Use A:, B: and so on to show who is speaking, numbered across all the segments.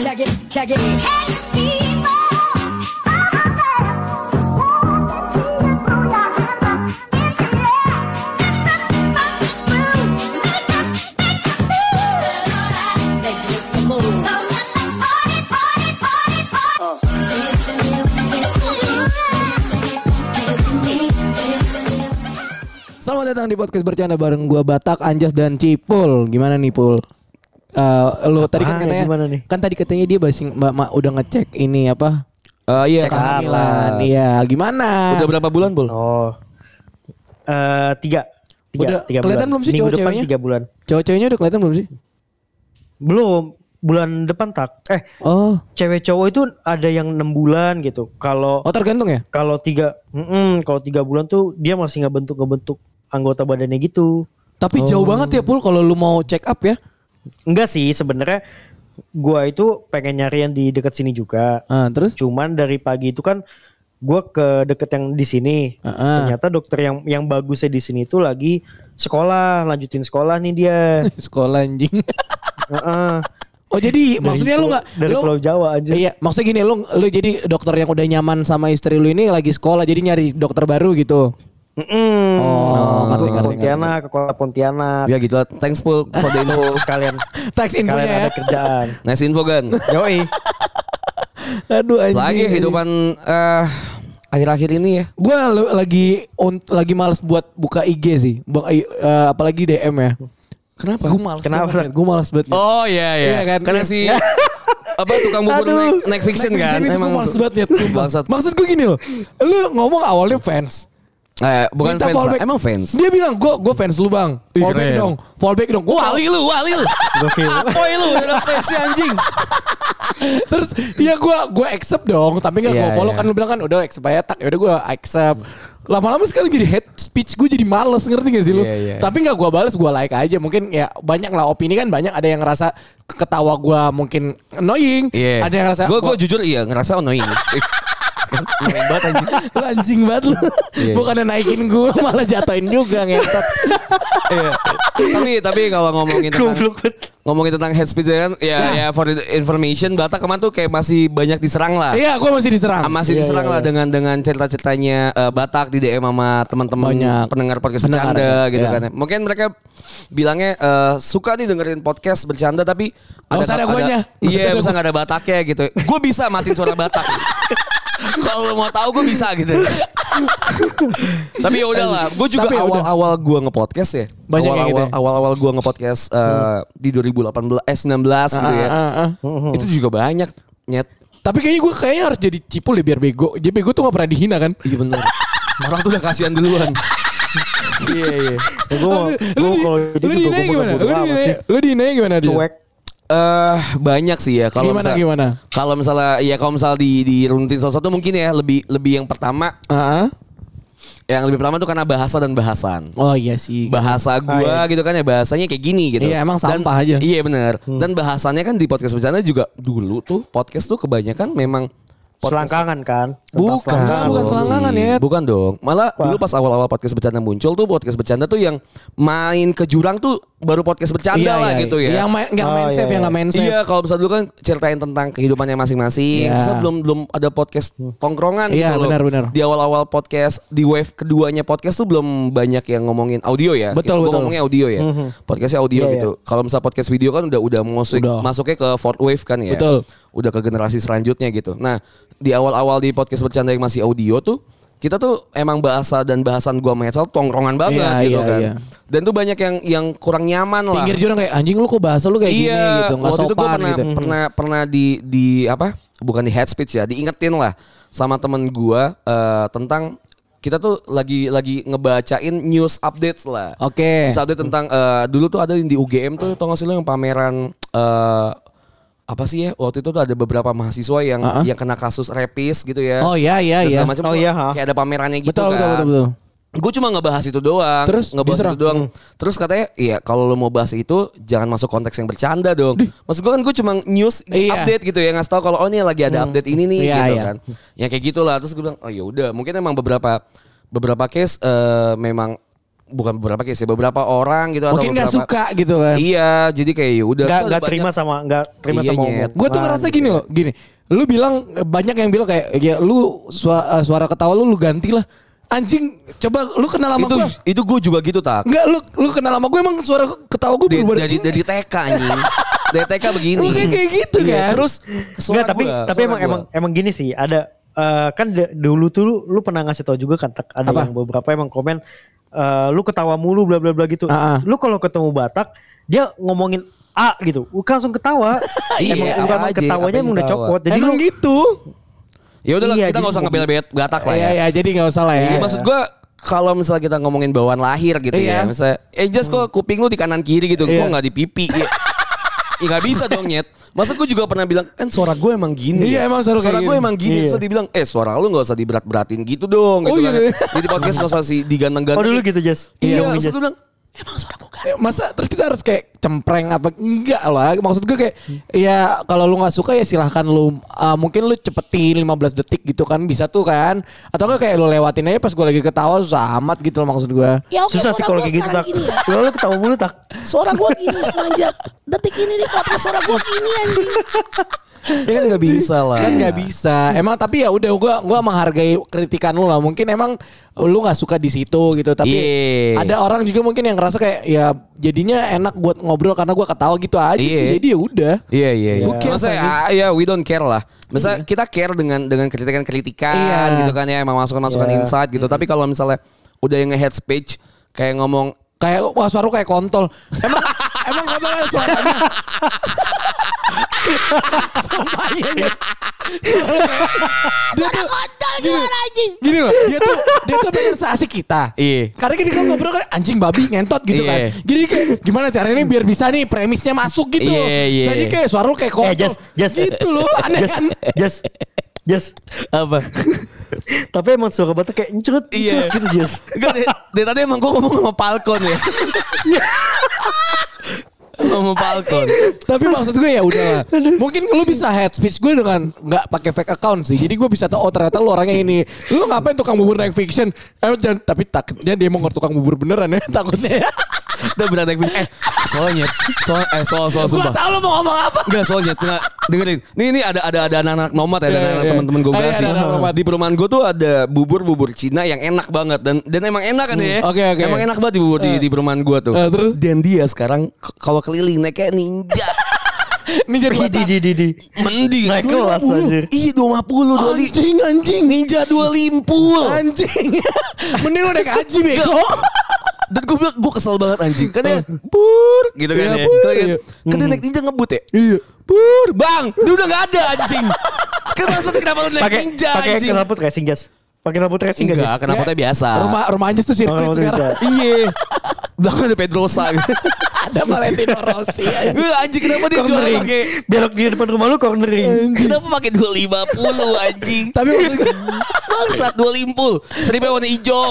A: Shaggy. Make you look the move.
B: Selamat datang di podcast bercanda bareng gua Batak, Anjas dan Cipul. Gimana nih Pul? Eh, lo tadi kan
C: Apaan ya,
B: katanya
C: gimana nih?
B: kan tadi katanya dia basing ma- ma- udah ngecek ini apa? Eh iya
C: Cek
B: kehamilan.
C: hamil.
B: Iya, gimana?
D: Udah berapa bulan, Bul?
C: Oh. Eh tiga. Tiga,
B: Udah
C: tiga
B: kelihatan belum
C: bulan.
B: sih
C: Minggu
B: cowok
C: depan
B: ceweknya?
C: tiga bulan.
B: Cowok-ceweknya udah kelihatan belum sih?
C: Belum. Bulan depan tak. Eh
B: Oh,
C: cewek cowok itu ada yang enam bulan gitu. Kalau
B: oh tergantung ya?
C: kalau tiga, mm-mm, kalau tiga bulan tuh dia masih ngebentuk ngebentuk anggota badannya gitu.
B: Tapi jauh banget ya Pul kalau lu mau check up ya.
C: Enggak sih sebenarnya. Gua itu pengen nyari yang di dekat sini juga.
B: Ah, terus?
C: Cuman dari pagi itu kan gua ke deket yang di sini.
B: Heeh.
C: Ternyata dokter yang yang bagusnya di sini tuh lagi sekolah, lanjutin sekolah nih dia.
B: Sekolah anjing.
C: Heeh.
B: oh, jadi maksudnya lu
C: Pulau-
B: nggak
C: dari
B: lu-
C: Pulau Jawa aja.
B: Iya, maksudnya gini lu lu jadi dokter yang udah nyaman sama istri lu ini lagi sekolah jadi nyari dokter baru gitu. Oh, ngerti, ngerti,
C: ke
B: ngerti.
C: Pontianak, ke kota Pontianak.
D: Ya gitu lah. Thanks, Pul. Kode info.
C: Kalian
B: Teks
C: kalian
B: infonya ya.
C: ada kerjaan.
D: Nice info, Gan.
C: Yoi.
B: Aduh anjing.
D: Lagi kehidupan eh, akhir-akhir ini ya.
B: Gue lagi on, lagi males buat buka IG sih, bang. eh, apalagi DM ya. Kenapa? Gue males.
C: Kenapa?
B: Gue males banget.
D: Oh iya iya.
B: Iya kan?
D: Karena
B: Iya.
D: si apa tukang bubur naik naik fiction kan.
B: Emang males
D: tuh.
B: banget. Nyet.
D: Bangsat.
B: Maksud gue gini loh, lu ngomong awalnya fans.
D: Eh, bukan
B: Minta
D: fans lah.
B: fallback.
D: Emang fans.
B: Dia bilang gue gue fans lu bang.
D: Ih,
B: Fallback
D: keren.
B: dong, fallback dong. Gua
D: Wali lu, wali lu.
C: Gokil.
D: Apoy lu, udah fans si anjing.
B: Terus ya gue gue accept dong, tapi nggak
D: Iya,
B: gue follow kan
D: iya.
B: lu bilang kan udah accept aja tak, udah gue accept. Lama-lama sekarang jadi head speech gue jadi males ngerti gak sih lu?
D: Iya, iya.
B: Tapi nggak gue balas gue like aja mungkin ya banyak lah opini kan banyak ada yang ngerasa ketawa gue mungkin annoying,
D: Iya.
B: ada yang ngerasa
D: Gue
B: "Wah,
D: gue jujur iya ngerasa annoying. Annoying banget anjing.
B: lu anjing banget lu.
D: Iya.
B: Bukannya naikin gue malah jatoin juga ngetot.
D: Iya. Tapi tapi kalau ngomongin tentang
C: Goblok banget.
D: ngomongin tentang head speech kan
B: Iya.
D: ya ya for the information Batak kemarin tuh kayak masih banyak diserang lah.
B: Iya gue masih diserang. Iya,
D: Ah, masih diserang lah dengan dengan cerita-ceritanya eh, Batak di DM sama teman-teman
B: Banyak.
D: pendengar podcast
B: Pendengar,
D: bercanda
B: ya.
D: gitu
B: Iya.
D: kan. Mungkin mereka bilangnya eh, suka nih dengerin podcast bercanda tapi
B: usah ada guanya.
D: Iya, bisa nggak ada Bataknya gitu. Gue bisa matiin suara Batak. Kalau lu mau tahu gue bisa gitu. tapi ya udahlah, gue juga
B: Tapi ya udah.
D: awal-awal gue ngepodcast ya.
B: Banyak yang
D: awal-awal
B: gitu ya.
D: awal-awal gue ngepodcast eh, di 2018 eh 19 gitu ya.
B: Ah, ah, ah.
D: Itu juga banyak nyet.
B: Tapi kayaknya gue kayaknya harus jadi cipul deh biar bego. Jadi bego tuh gak pernah dihina kan?
D: Iya bener Orang tuh udah kasihan duluan
C: Iya, iya. Gue
B: Lu di-
C: kalau gitu
B: lu
C: juga
B: dinaik
C: gue
B: gimana? Lu
C: bodo amat
B: dinaik-
C: sih.
B: Lu dinaik gimana? Dia?
C: Cuek.
D: Eh banyak sih ya kalau
B: Gimana,
D: misalnya
B: gimana?
D: kalau misalnya ya kalau misalnya di diruntin salah satu mungkin ya lebih lebih yang pertama
B: Ah, ah.
D: yang lebih pertama tuh karena bahasa dan bahasan
B: Oh iya sih.
D: bahasa gua gitu kan ya bahasanya kayak gini gitu
B: Iya, emang
D: Dan-
B: sampah aja.
D: iya bener dan bahasannya kan di podcast bercanda juga dulu tuh podcast tuh kebanyakan memang podcast
C: Selangkangan kan? Tentang Iya.
D: Bukan,
B: bukan
D: dong.
B: selangkangan, ya.
D: Bukan dong. Malah
C: Wah.
D: dulu pas awal-awal podcast bercanda muncul tuh podcast bercanda tuh yang main ke jurang tuh baru podcast bercanda lah gitu ya.
B: Iya, Yang main nggak
C: Oh,
B: main
C: iya,
B: safe, yang
C: iya.
B: nggak main safe.
D: Iya, kalau misalnya dulu kan ceritain tentang kehidupannya masing-masing.
B: Iya.
D: Terus belum belum ada podcast tongkrongan
B: Iya,
D: gitu loh.
B: benar, benar.
D: Di awal-awal podcast, di wave keduanya podcast tuh belum banyak yang ngomongin audio ya.
B: Betul, betul.
D: Gua
B: Hmm.
D: ngomongnya audio ya. Podcastnya audio
C: Iya,
D: gitu. Kalau misalnya podcast video kan udah udah masuk
B: Udah.
D: masuknya ke fourth wave kan ya.
B: Betul.
D: Udah ke generasi selanjutnya gitu. Nah, di awal-awal di podcast bercanda yang masih audio tuh kita tuh emang bahasa dan bahasan gua metal tongkrongan banget
B: Iya,
D: gitu
B: iya,
D: kan.
B: iya.
D: Dan tuh banyak yang yang kurang nyaman lah
B: Pinggir jurang kayak anjing lu kok bahasa lu kayak
D: iya,
B: gini gitu, nggak
D: waktu itu gue
B: sopan
D: pernah,
B: gitu.
D: pernah pernah di di apa? Bukan di head speech ya, diingetin lah sama temen gue tentang kita tuh lagi lagi ngebacain news updates lah.
B: Oke.
D: News update tentang eh, dulu tuh ada yang di UGM tuh tau gak sih lo yang pameran eh, apa sih ya? Waktu itu tuh ada beberapa mahasiswa yang
B: Uh-uh.
D: yang kena kasus rapis gitu ya.
B: Oh iya iya
D: Terus
B: iya.
D: segala macam
C: Oh,
D: tuh
C: iya, ha.
D: kayak ada pamerannya gitu
B: Betul,
D: kan.
B: betul betul betul.
D: Gue cuma ngebahas itu doang.
B: Terus
D: ngebahas
B: diserang. Hmm.
D: itu doang. Terus katanya, iya kalau lo mau bahas itu jangan masuk konteks yang bercanda dong. Maksud gue kan gue cuma news
B: Iya.
D: update gitu ya ngasih tahu kalau oh ini lagi ada update ini nih
B: Iya,
D: gitu
B: iya.
D: kan. Ya kayak gitulah. Terus gue bilang, oh ya udah, mungkin emang beberapa beberapa case eh, memang bukan beberapa case ya, beberapa orang gitu
B: Mungkin
D: atau
B: nggak
D: beberapa-
B: suka gitu kan.
D: Iya, jadi kayak ya udah
C: Nggak
D: soalnya
C: nggak
D: banyak-
C: terima sama nggak terima
D: Iya,
C: sama
D: Nyet.
C: omongan.
B: Gue tuh ngerasa
D: ya.
B: gini loh, gini. Lu bilang banyak yang bilang kayak ya lu sua- eh, suara ketawa lu lu gantilah. Anjing, coba lu kenal sama
D: itu
B: gue.
D: itu gue juga gitu tak.
B: Enggak, lu lu kenal sama gue emang suara ketawa gue
D: Dari
B: berubah.
D: dari, dari TK anjing. dari TK begini.
B: Lu kayak- kayak gitu
D: Iya,
B: kan?
D: Terus suara
C: Nggak, tapi
D: gua,
C: tapi
D: suara
C: emang
D: gua.
C: emang emang gini sih ada eh, kan de- dulu tuh lu, lu pernah ngasih tau juga kan Tak, ada
B: Apa?
C: yang beberapa emang komen eh, lu ketawa mulu bla bla bla gitu.
B: Ah, ah.
C: Lu kalau ketemu Batak dia ngomongin A gitu, lu langsung ketawa. emang
D: Iya,
C: emang
D: apa aja, apa
C: ketawanya
D: yang
C: emang udah
D: ketawa.
C: copot. Jadi
B: emang
C: lu-
B: gitu.
D: Ya udahlah
C: Iya,
D: kita
C: jadi
D: nggak usah
C: mau-
D: ngebel-bel Batak lah
B: Iya,
D: ya.
B: iya, jadi nggak usah lah ya.
D: Jadi maksud gue kalau misalnya kita ngomongin bawaan lahir gitu
B: Iya. Hmm.
D: ya, misalnya, eh just kok kuping lu di kanan kiri gitu,
B: Iya.
D: kok nggak di pipi. Iya. Ya nggak bisa dong nyet. Masa gue juga pernah bilang kan suara gue emang gini.
B: Iya,
D: ya.
B: emang suara
D: suara
B: kayak
D: gue
B: gini.
D: emang gini.
C: Iya.
D: Terus dibilang eh suara lu nggak usah diberat-beratin gitu dong.
B: Oh,
D: gitu kan.
B: iya.
D: Jadi podcast nggak usah sih
C: Oh dulu
D: diganteng-ganteng.
C: gitu Jess.
D: Iya,
C: Ngomongin
D: terus
C: Jess.
D: gue bilang
B: Eh, Masa terus kita harus kayak cempreng apa enggak lah. Maksud gue kayak ya kalau lu nggak suka ya silahkan lu uh, mungkin lu cepetin 15 detik gitu kan bisa tuh kan. Atau nggak kayak lu lewatin aja pas gue lagi ketawa susah amat gitu loh maksud gue.
A: Ya oke,
C: Susah
A: suara
C: sih kalau
A: gua
C: kayak gitu
A: sekarang
C: tak.
A: gini ya.
C: Lu lu ketawa mulu tak.
A: Suara gua gini semenjak detik ini nih podcast suara gua gini anjing.
D: ya kan nggak bisa lah.
B: kan nggak bisa emang tapi ya udah gua gua menghargai kritikan lu lah mungkin emang lu nggak suka di situ gitu tapi
D: Iya.
B: ada orang juga mungkin yang ngerasa kayak ya jadinya enak buat ngobrol karena gua ketawa gitu aja sih
D: Iya.
B: jadi ya udah
D: Iya iya iya.
B: Who cares,
D: Masa
B: anjing?
D: ah, ya we don't care lah. Misalnya kita care dengan dengan kritikan-kritikan
B: Iya.
D: gitu kan ya, emang masukan-masukan
C: Iya.
D: insight gitu. Tapi kalau misalnya udah yang nge-head speech kayak ngomong
B: kayak wah suara lu kayak kontol emang emang kontol ada suaranya Sumpah, iya, iya. Dia tuh-
A: Kontol gimana anjing?
B: gini loh dia tuh dia tuh pengen seasik kita
D: Iya.
B: karena kan kita ngobrol kan anjing babi ngentot gitu
D: Iya.
B: kan jadi kayak gimana caranya ini biar bisa nih premisnya masuk gitu
D: Iya, iya.
B: jadi kayak suara lu kayak kontol
C: Eh Jess, Jess.
B: gitu loh aneh
C: Jess,
B: kan
C: Jess. Jess.
D: apa?
C: Tapi emang suara Batak kayak encut, encut
D: Iya.
C: gitu Jess.
D: Enggak deh, deh, tadi emang gue ngomong sama Falcon ya. ngomong Falcon.
B: tapi maksud gue ya udah lah. mungkin lu bisa head speech gue dengan nggak pakai fake account sih jadi gue bisa tahu oh ternyata lu orangnya ini lu ngapain tukang bubur naik fiction eh, jangan, tapi takutnya dia mau ngerti tukang bubur beneran ya takutnya
D: Kita beneran naik Eh, soalnya soal eh soal soal
B: gue
D: sumpah.
B: tahu lu mau ngomong apa
D: Enggak soalnya enggak dengerin. Nih ini ada ada ada anak-anak nomad ya, ada
B: Iya,
D: anak-anak
B: iya.
D: teman-teman gue
B: Ah, iya,
D: berasi.
B: ada anak nomad.
D: Di perumahan gue tuh ada bubur-bubur Cina yang enak banget dan dan emang enak kan ya.
B: Hmm, oke, oke.
D: Emang enak banget di bubur di, di perumahan gue tuh.
B: Eh, terus?
D: Dan dia sekarang k- kalau keliling naik kayak ninja.
B: ini jadi
C: Di di di di.
D: Mending
C: Naik kelas, anjir.
D: Iya 20 20.
B: Anjing anjing
D: Ninja dua limpul.
B: Anjing Mending lu udah kaji bego Eh.
D: Dan gue bilang gue kesel banget anjing Kan dia Bur Gitu
B: Iya,
D: kan ya
B: bur,
D: Kan dia-
B: iya.
D: Kan dia naik ninja ngebut ya
B: Iya
D: Bur Bang Dia udah gak ada anjing Kan maksudnya kenapa lu naik
C: Pakai
D: ninja
C: pakai
D: anjing
C: kenapa racing Jess? Pakai rambut racing gak
D: Enggak
C: Jess?
D: kenapa tuh biasa
B: Rumah rumah Anjas tuh
C: Oh,
B: sirkuit
C: rambut
B: sekarang
C: racing.
D: Iya Belakang ada Pedrosa gitu.
B: Ada Valentino Rossi anjing.
D: Eh, Anjing kenapa dia jual
C: Cornering.
D: pakai
C: Belok di depan rumah lu cornering.
D: Kenapa pakai 250 anjing
B: Tapi maksud gue,
D: Bangsat 250 Seripnya warna hijau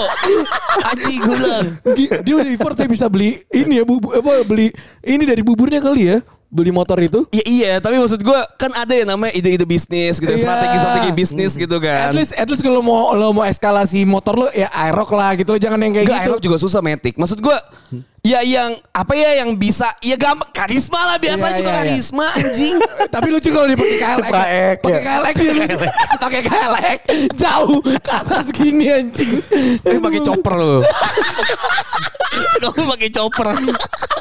D: Anjing gue bilang
B: di- Dia udah effort dia bisa beli Ini ya bubur apa, Beli Ini dari buburnya kali ya Beli motor itu
D: Ya iya, tapi maksud gua kan ada ya namanya ide-ide bisnis gitu,
B: Iya.
D: strategi-strategi bisnis gitu kan.
B: At least at least kalau mau lo mau eskalasi motor lo ya aerok lah gitu lo jangan yang kayak
D: Enggak,
B: gitu.
D: Aerob juga susah metik. Maksud gua ya yang apa ya yang bisa ya gampang karisma lah biasa
B: Iya,
D: juga
B: iya, iya.
D: karisma anjing.
B: Tapi lucu kalau dipakai KLX.
C: Supra X,
B: Pakai
C: ya.
B: KLX dia lucu. Pakai KLX jauh ke atas gini anjing.
D: Lu pakai chopper lu. Kamu pakai chopper.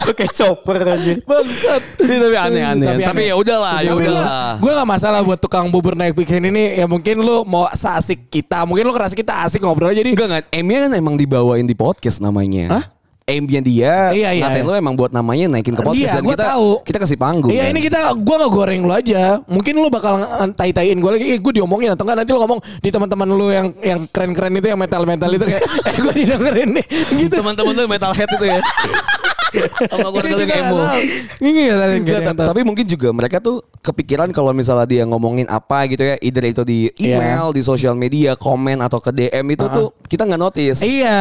C: Pakai chopper anjir.
B: Bangsat.
D: Ini tapi aneh-aneh.
B: Tapi
D: Tapi,
B: aneh.
D: ya udahlah, ya udahlah.
B: Gue gak masalah buat tukang bubur naik bikin ini. Ya mungkin lu mau seasik kita. Mungkin lu ngerasa kita asik ngobrol jadi.
D: Enggak enggak, M-nya kan emang dibawain di podcast namanya.
B: Hah?
D: M-nya dia
B: Iya, iya,
D: ngatain
B: iya.
D: lu emang buat namanya naikin ke podcast
B: Iya,
D: dan
B: gua
D: kita
B: tahu.
D: kita kasih panggung.
B: Iya
D: kan.
B: ini kita gua nggak goreng lu aja. Mungkin lu bakal tai-taiin gua lagi. Eh gue diomongin atau enggak nanti lu ngomong di teman-teman lu yang yang keren-keren itu yang metal-metal itu kayak eh gue didengerin nih. Gitu.
D: Teman-teman lu yang metalhead itu ya. Sama gue dengerin emo.
B: Ini ya tadi
D: Nggak, ta- tapi mungkin juga mereka tuh kepikiran kalau misalnya dia ngomongin apa gitu ya, either itu di
B: Iya.
D: email, di sosial media, komen atau ke DM itu tuh kita nggak notice.
B: Iya.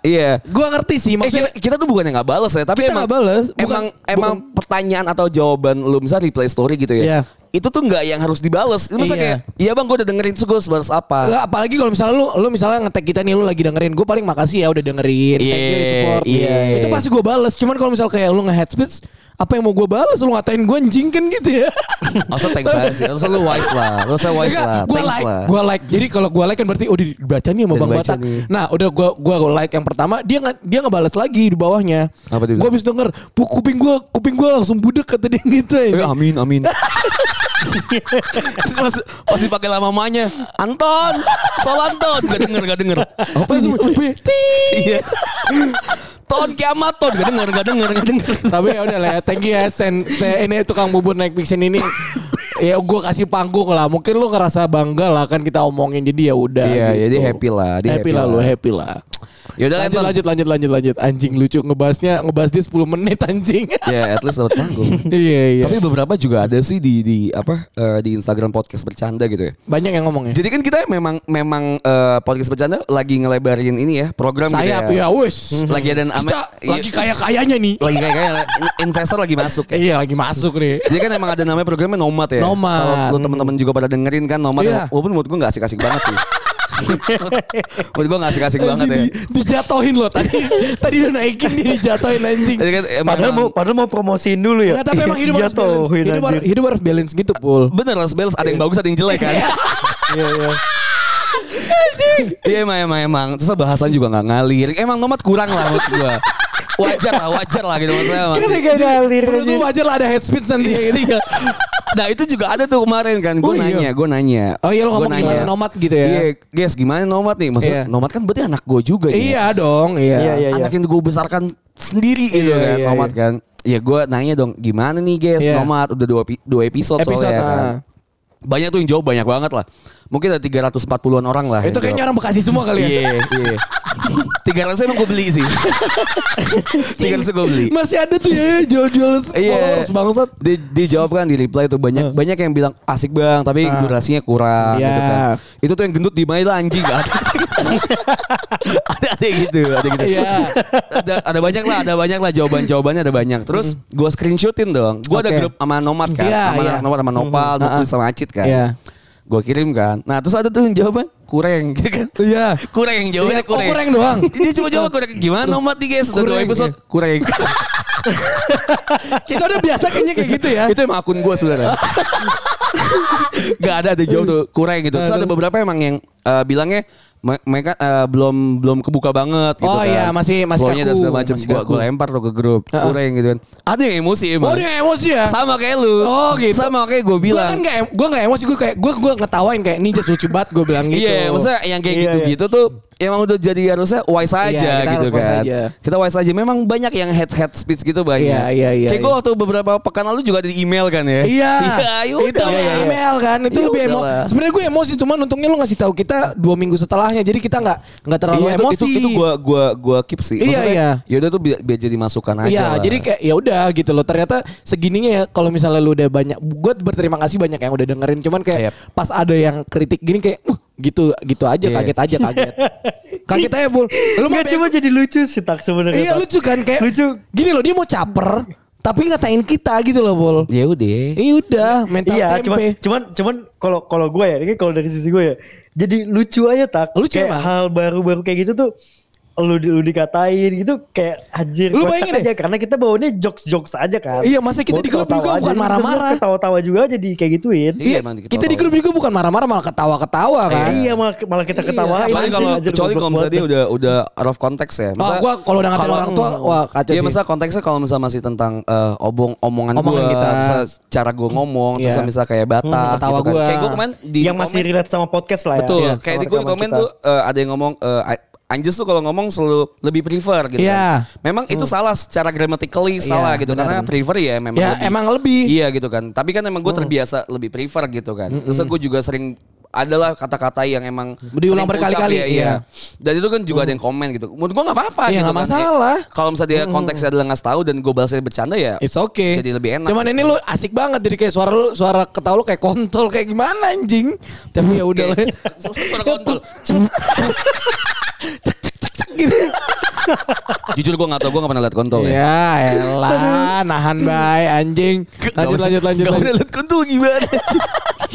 D: Iya.
B: Gua ngerti sih
D: Eh,
B: maksudnya
D: kita, kita tuh bukannya nggak bales ya, tapi
B: Kita
D: emang
B: nggak bales, bukan-
D: emang emang
B: bukan.
D: pertanyaan atau jawaban lu misalnya replay story gitu ya.
B: Iya.
D: Itu tuh nggak yang harus dibales. Itu
B: Iya.
D: misalnya kayak, iya bang gue udah dengerin, terus gue harus balas apa?
B: Nggak, apalagi kalau misalnya lu lu misalnya ngetek kita nih lu lagi dengerin gue paling makasih ya udah dengerin thank you
D: Iya,
B: support
D: iya.
B: itu pasti gue balas cuman kalau misalnya kayak lu nge head speech apa yang mau gue balas lu ngatain gue anjing kan gitu ya
D: Masa thanks aja sih. Harusnya lu wise lah. Harusnya wise lah.
B: gue
D: Thanks
B: like
D: lah.
B: gue like jadi kalau gue like kan berarti udah dibaca nih sama
D: Udah
B: bang
D: dibaca
B: batak
D: nih.
B: nah udah gue gua like yang pertama dia nggak dia ngebalas lagi di bawahnya
D: Apa dia
B: gue habis denger "Bu, kuping gue kuping gue langsung budek kata dia gitu
D: Eh,
B: ya.
D: amin, amin. Terus pas, pasti pakai lama mamanya. Anton, soal Anton. Gak denger, gak denger. Apa itu? Iya. Ton kiamat, Ton. Gak denger, gak denger, gak denger.
B: Tapi ya udah lah ya, thank you ya Sen, Sen- ini tukang bubur naik fiction ini. ya gue kasih panggung lah. Mungkin lu ngerasa bangga lah kan kita omongin jadi ya udah.
D: Iya, jadi happy lah, dia
B: Happy,
D: happy
B: lah
D: lah.
B: lu, happy lah.
D: Ya udah,
B: lanjut,
D: Anton.
B: lanjut, lanjut, lanjut, lanjut. Anjing lucu ngebahasnya, ngebahas dia 10 menit anjing.
D: Ya, at least dapat panggung.
B: iya, iya.
D: Tapi beberapa juga ada sih di di apa eh, di Instagram podcast bercanda gitu ya.
B: Banyak yang ngomong ya.
D: Jadi kan kita memang memang eh, podcast bercanda lagi ngelebarin ini ya program
B: Sayap
D: gitu
B: ya, wes.
D: Lagi ada nama
B: Kita
D: iya.
B: lagi kaya-kayanya nih.
D: lagi kayak kayak investor lagi masuk.
B: Kayak iya, lagi masuk nih.
D: Jadi kan emang ada namanya programnya Nomad ya.
B: Nomad.
D: Kalau lu teman-teman juga pada dengerin kan Nomad.
B: Iya.
D: Walaupun menurut gue gak asik-asik banget sih. menurut gue gak asik-asik banget ya.
B: Anjing, di- dijatohin loh tadi. tadi udah naikin dia dijatohin anjing.
D: Jadi kan emang,
C: Padahal mau, padahal mau promosiin dulu ya.
B: Nggak, tapi emang hidup harus balance.
C: Jatuhin
B: Hidup, har-
C: anjir.
B: hidup harus balance gitu, Pul.
D: bener Las Bells ada yang bagus ada yang jelek kan.
C: Iya, iya.
D: Iya emang emang emang. Terus bahasan juga gak ngalir. Emang Nomad kurang lah menurut gue. Wajar lah wajar lah gitu maksudnya. emang.
C: Ini kayak Kan ngalir
B: Menurut
C: aja.
B: Iya, lu wajar lah ada head speech nanti ya gitu.
D: Iya. Nah itu juga ada tuh kemarin kan
B: Oh,
D: Gue
B: iya.
D: nanya Gue nanya
B: Oh iya, lo
D: Gua
B: ngomong gimana nomad gitu ya?
D: Iya guys gimana nomad nih Maksud
B: Iya.
D: nomad kan berarti anak gue juga ya.
B: Iya dong,
C: Iya,
B: iya.
C: iya.
D: anak yang gue besarkan sendiri gitu
B: Iya,
D: kan
B: iya,
D: nomad
B: iya.
D: kan ya gue nanya dong gimana nih guys
B: Iya.
D: nomad udah dua, epi- dua episode,
B: Episode,
D: soalnya kan.
B: ah.
D: banyak tuh yang jawab banyak banget lah mungkin ada 340-an orang lah
B: Itu kayaknya orang Bekasi semua kali ya.
D: iya iya tiga ratus emang gue beli sih tiga ratus gue beli
B: Masih ada tuh ya jual-jual
D: Iya,
B: followers bangsat.
D: Di, dijawab kan di reply tuh banyak banyak yang bilang asik bang, tapi
B: Ah.
D: durasinya kurang.
B: Iya.
D: Gitu kan. Itu tuh yang gendut di lah anjing kan. ada ada gitu, ada gitu.
B: Iya.
D: ada, ada banyak lah, ada banyak lah jawaban jawabannya ada banyak. Terus gue screenshotin dong. Gue ada
B: Oke.
D: grup sama nomad kan,
B: Iya,
D: sama
B: iya.
D: anak nomad sama nopal,
B: Ah,
D: Muklis
B: ah.
D: sama acit kan.
B: Iya.
D: Gue kirim kan. Nah terus ada tuh yang jawaban kurang, gitu kan.
B: Iya.
D: Kurang jawabannya
B: Iya, oh, kurang doang.
D: Dia cuma jawab kurang. Gimana nomad nih guys? Udah dua
B: Kurang,
D: episode kurang.
B: Kita udah biasa kayaknya kayak gitu ya.
D: Itu emang akun gue sebenarnya. Gak ada ada jauh tuh kurang gitu. Terus ada beberapa emang yang eh, bilangnya me- mereka eh, belum belum kebuka banget gitu
B: Oh
D: kan.
B: iya, masih- masih
D: Flownya dan
B: kaku,
D: segala macam
B: masih
D: gua
B: kaku.
D: gua lempar tuh ke grup.
B: Heeh.
D: Kurang gitu kan. Ada yang emosi emang.
B: Oh dia emosi ya.
D: Sama kayak lu.
B: Oh, gitu.
D: Sama kayak gue
B: Gue
D: bilang.
B: kan gak, gue gak emosi, gue kayak, gue gue ngetawain kayak ini just lucu banget, gue bilang gitu.
D: Iya, maksudnya yang kayak
C: Iya,
D: gitu-gitu tuh emang udah jadi harusnya wise aja
B: Iya, kita
D: gitu
B: harus wise
D: kan.
B: aja.
D: Kita wise aja. Memang banyak yang head head speech gitu banyak.
B: Iya, iya, iya,
D: Kayak gue
B: iya.
D: waktu beberapa pekan lalu juga ada di email kan ya.
B: Iya,
D: Iya,
B: itu
D: yaudah.
B: namanya email kan, itu
D: Ya
B: lebih emo.
D: udahlah.
B: Sebenarnya gue emosi, cuman untungnya lu ngasih tahu kita dua minggu setelahnya, jadi kita nggak nggak terlalu
D: Iya, itu,
B: emosi.
D: Itu, itu gua gua gua keep sih.
B: Iya, iya.
D: Ya udah tuh biar, biar jadi masukan aja.
B: Iya,
D: lah.
B: jadi kayak ya udah gitu loh. Ternyata segininya ya kalau misalnya lu udah banyak gue berterima kasih banyak yang udah dengerin cuman kayak
D: Yep.
B: pas ada yang kritik gini kayak "Uh, gitu gitu aja
D: Iya.
B: kaget aja kaget. kaget aja, Bul. Lu mau
C: Nggak, cuma jadi lucu sih tak sebenarnya.
B: Iya
C: Tak.
B: lucu kan kayak
C: Lucu.
B: Gini loh dia mau caper tapi ngatain kita gitu loh, Bul.
D: ya udah.
B: Iya udah, mental
C: Iya, cuman
B: tempe.
C: cuman cuman kalau kalau gue ya, ini kalau dari sisi gue ya. Jadi lucu aja tak.
B: Lucu
C: kayak
B: emang.
C: hal baru-baru kayak gitu tuh lu, di- lu dikatain gitu kayak anjir
B: Lu
C: kocak
B: bayangin
C: aja karena kita bawaannya jokes-jokes aja kan.
B: Iya, masa kita
C: Gua
B: di grup
C: ketawa-tawa
B: juga bukan
C: aja,
B: marah-marah.
C: terus Ketawa-tawa juga jadi kayak gituin.
D: Iya,
B: Iya,
D: emang diketawa-tawa.
B: kita di grup juga bukan marah-marah malah ketawa-ketawa kan.
C: Iya, malah, malah kita
B: Iya,
C: ketawain.
D: Kecuali
C: anjing,
D: kalau
C: anjir,
D: kecuali
C: goblok
D: kalau misalnya
C: banget. ya.
D: dia udah udah out of konteks ya.
B: Oh, gua kalau udah ngatain orang tua, wah, kacau
D: Iya,
B: sih.
D: masa konteksnya kalau misalnya masih tentang eh, obong omongan,
B: Omongan
D: gua,
B: kita.
D: misalnya cara gua ngomong, terus
B: Iya.
D: misalnya kayak batak
B: Hmm, ketawa
D: gitu kan.
B: gua.
D: Kayak gua kemarin di
C: yang masih
D: komen-
C: relate sama podcast lah ya.
D: Betul.
C: Iya,
D: Kayak
C: sama
D: di gue di
C: rekaman
D: komen
C: kita.
D: tuh eh, ada yang ngomong eh, A- Anjes tuh kalau ngomong selalu lebih prefer gitu.
B: Iya.
D: Kan. Memang itu salah secara grammatically salah gitu
B: benar,
D: karena
B: benar.
D: prefer ya memang
B: Ya, emang lebih.
D: Iya gitu kan. Tapi kan emang
B: Hmm.
D: gue terbiasa lebih prefer gitu kan. Terus gue juga sering adalah kata-kata yang emang
B: Diulang
D: sering ucap
B: berkali-kali,
D: ya,
B: iya. Hmm.
D: iya. Dan itu kan juga ada yang komen gitu. Menurut gue nggak apa-apa
B: Iya,
D: gitu
B: nggak
D: kan.
B: masalah. Hmm.
D: Eh, Kalau misalnya dia konteksnya adalah nggak tahu dan gue balasnya bercanda ya.
B: It's okay.
D: Jadi lebih enak.
B: Cuman ini lu asik banget jadi kayak suara lu suara ketawa lu kayak kontol kayak gimana anjing. Tapi ya udah lah.
D: Suara kontol.
B: Cek, cek, cek, cek. gitu.
D: Jujur gue gak tau, gue gak pernah liat kontol ya.
B: ya elah, nahan baik anjing. Lanjut lanjut lanjut.
D: Gak
B: lanjut.
D: pernah liat kontol gimana.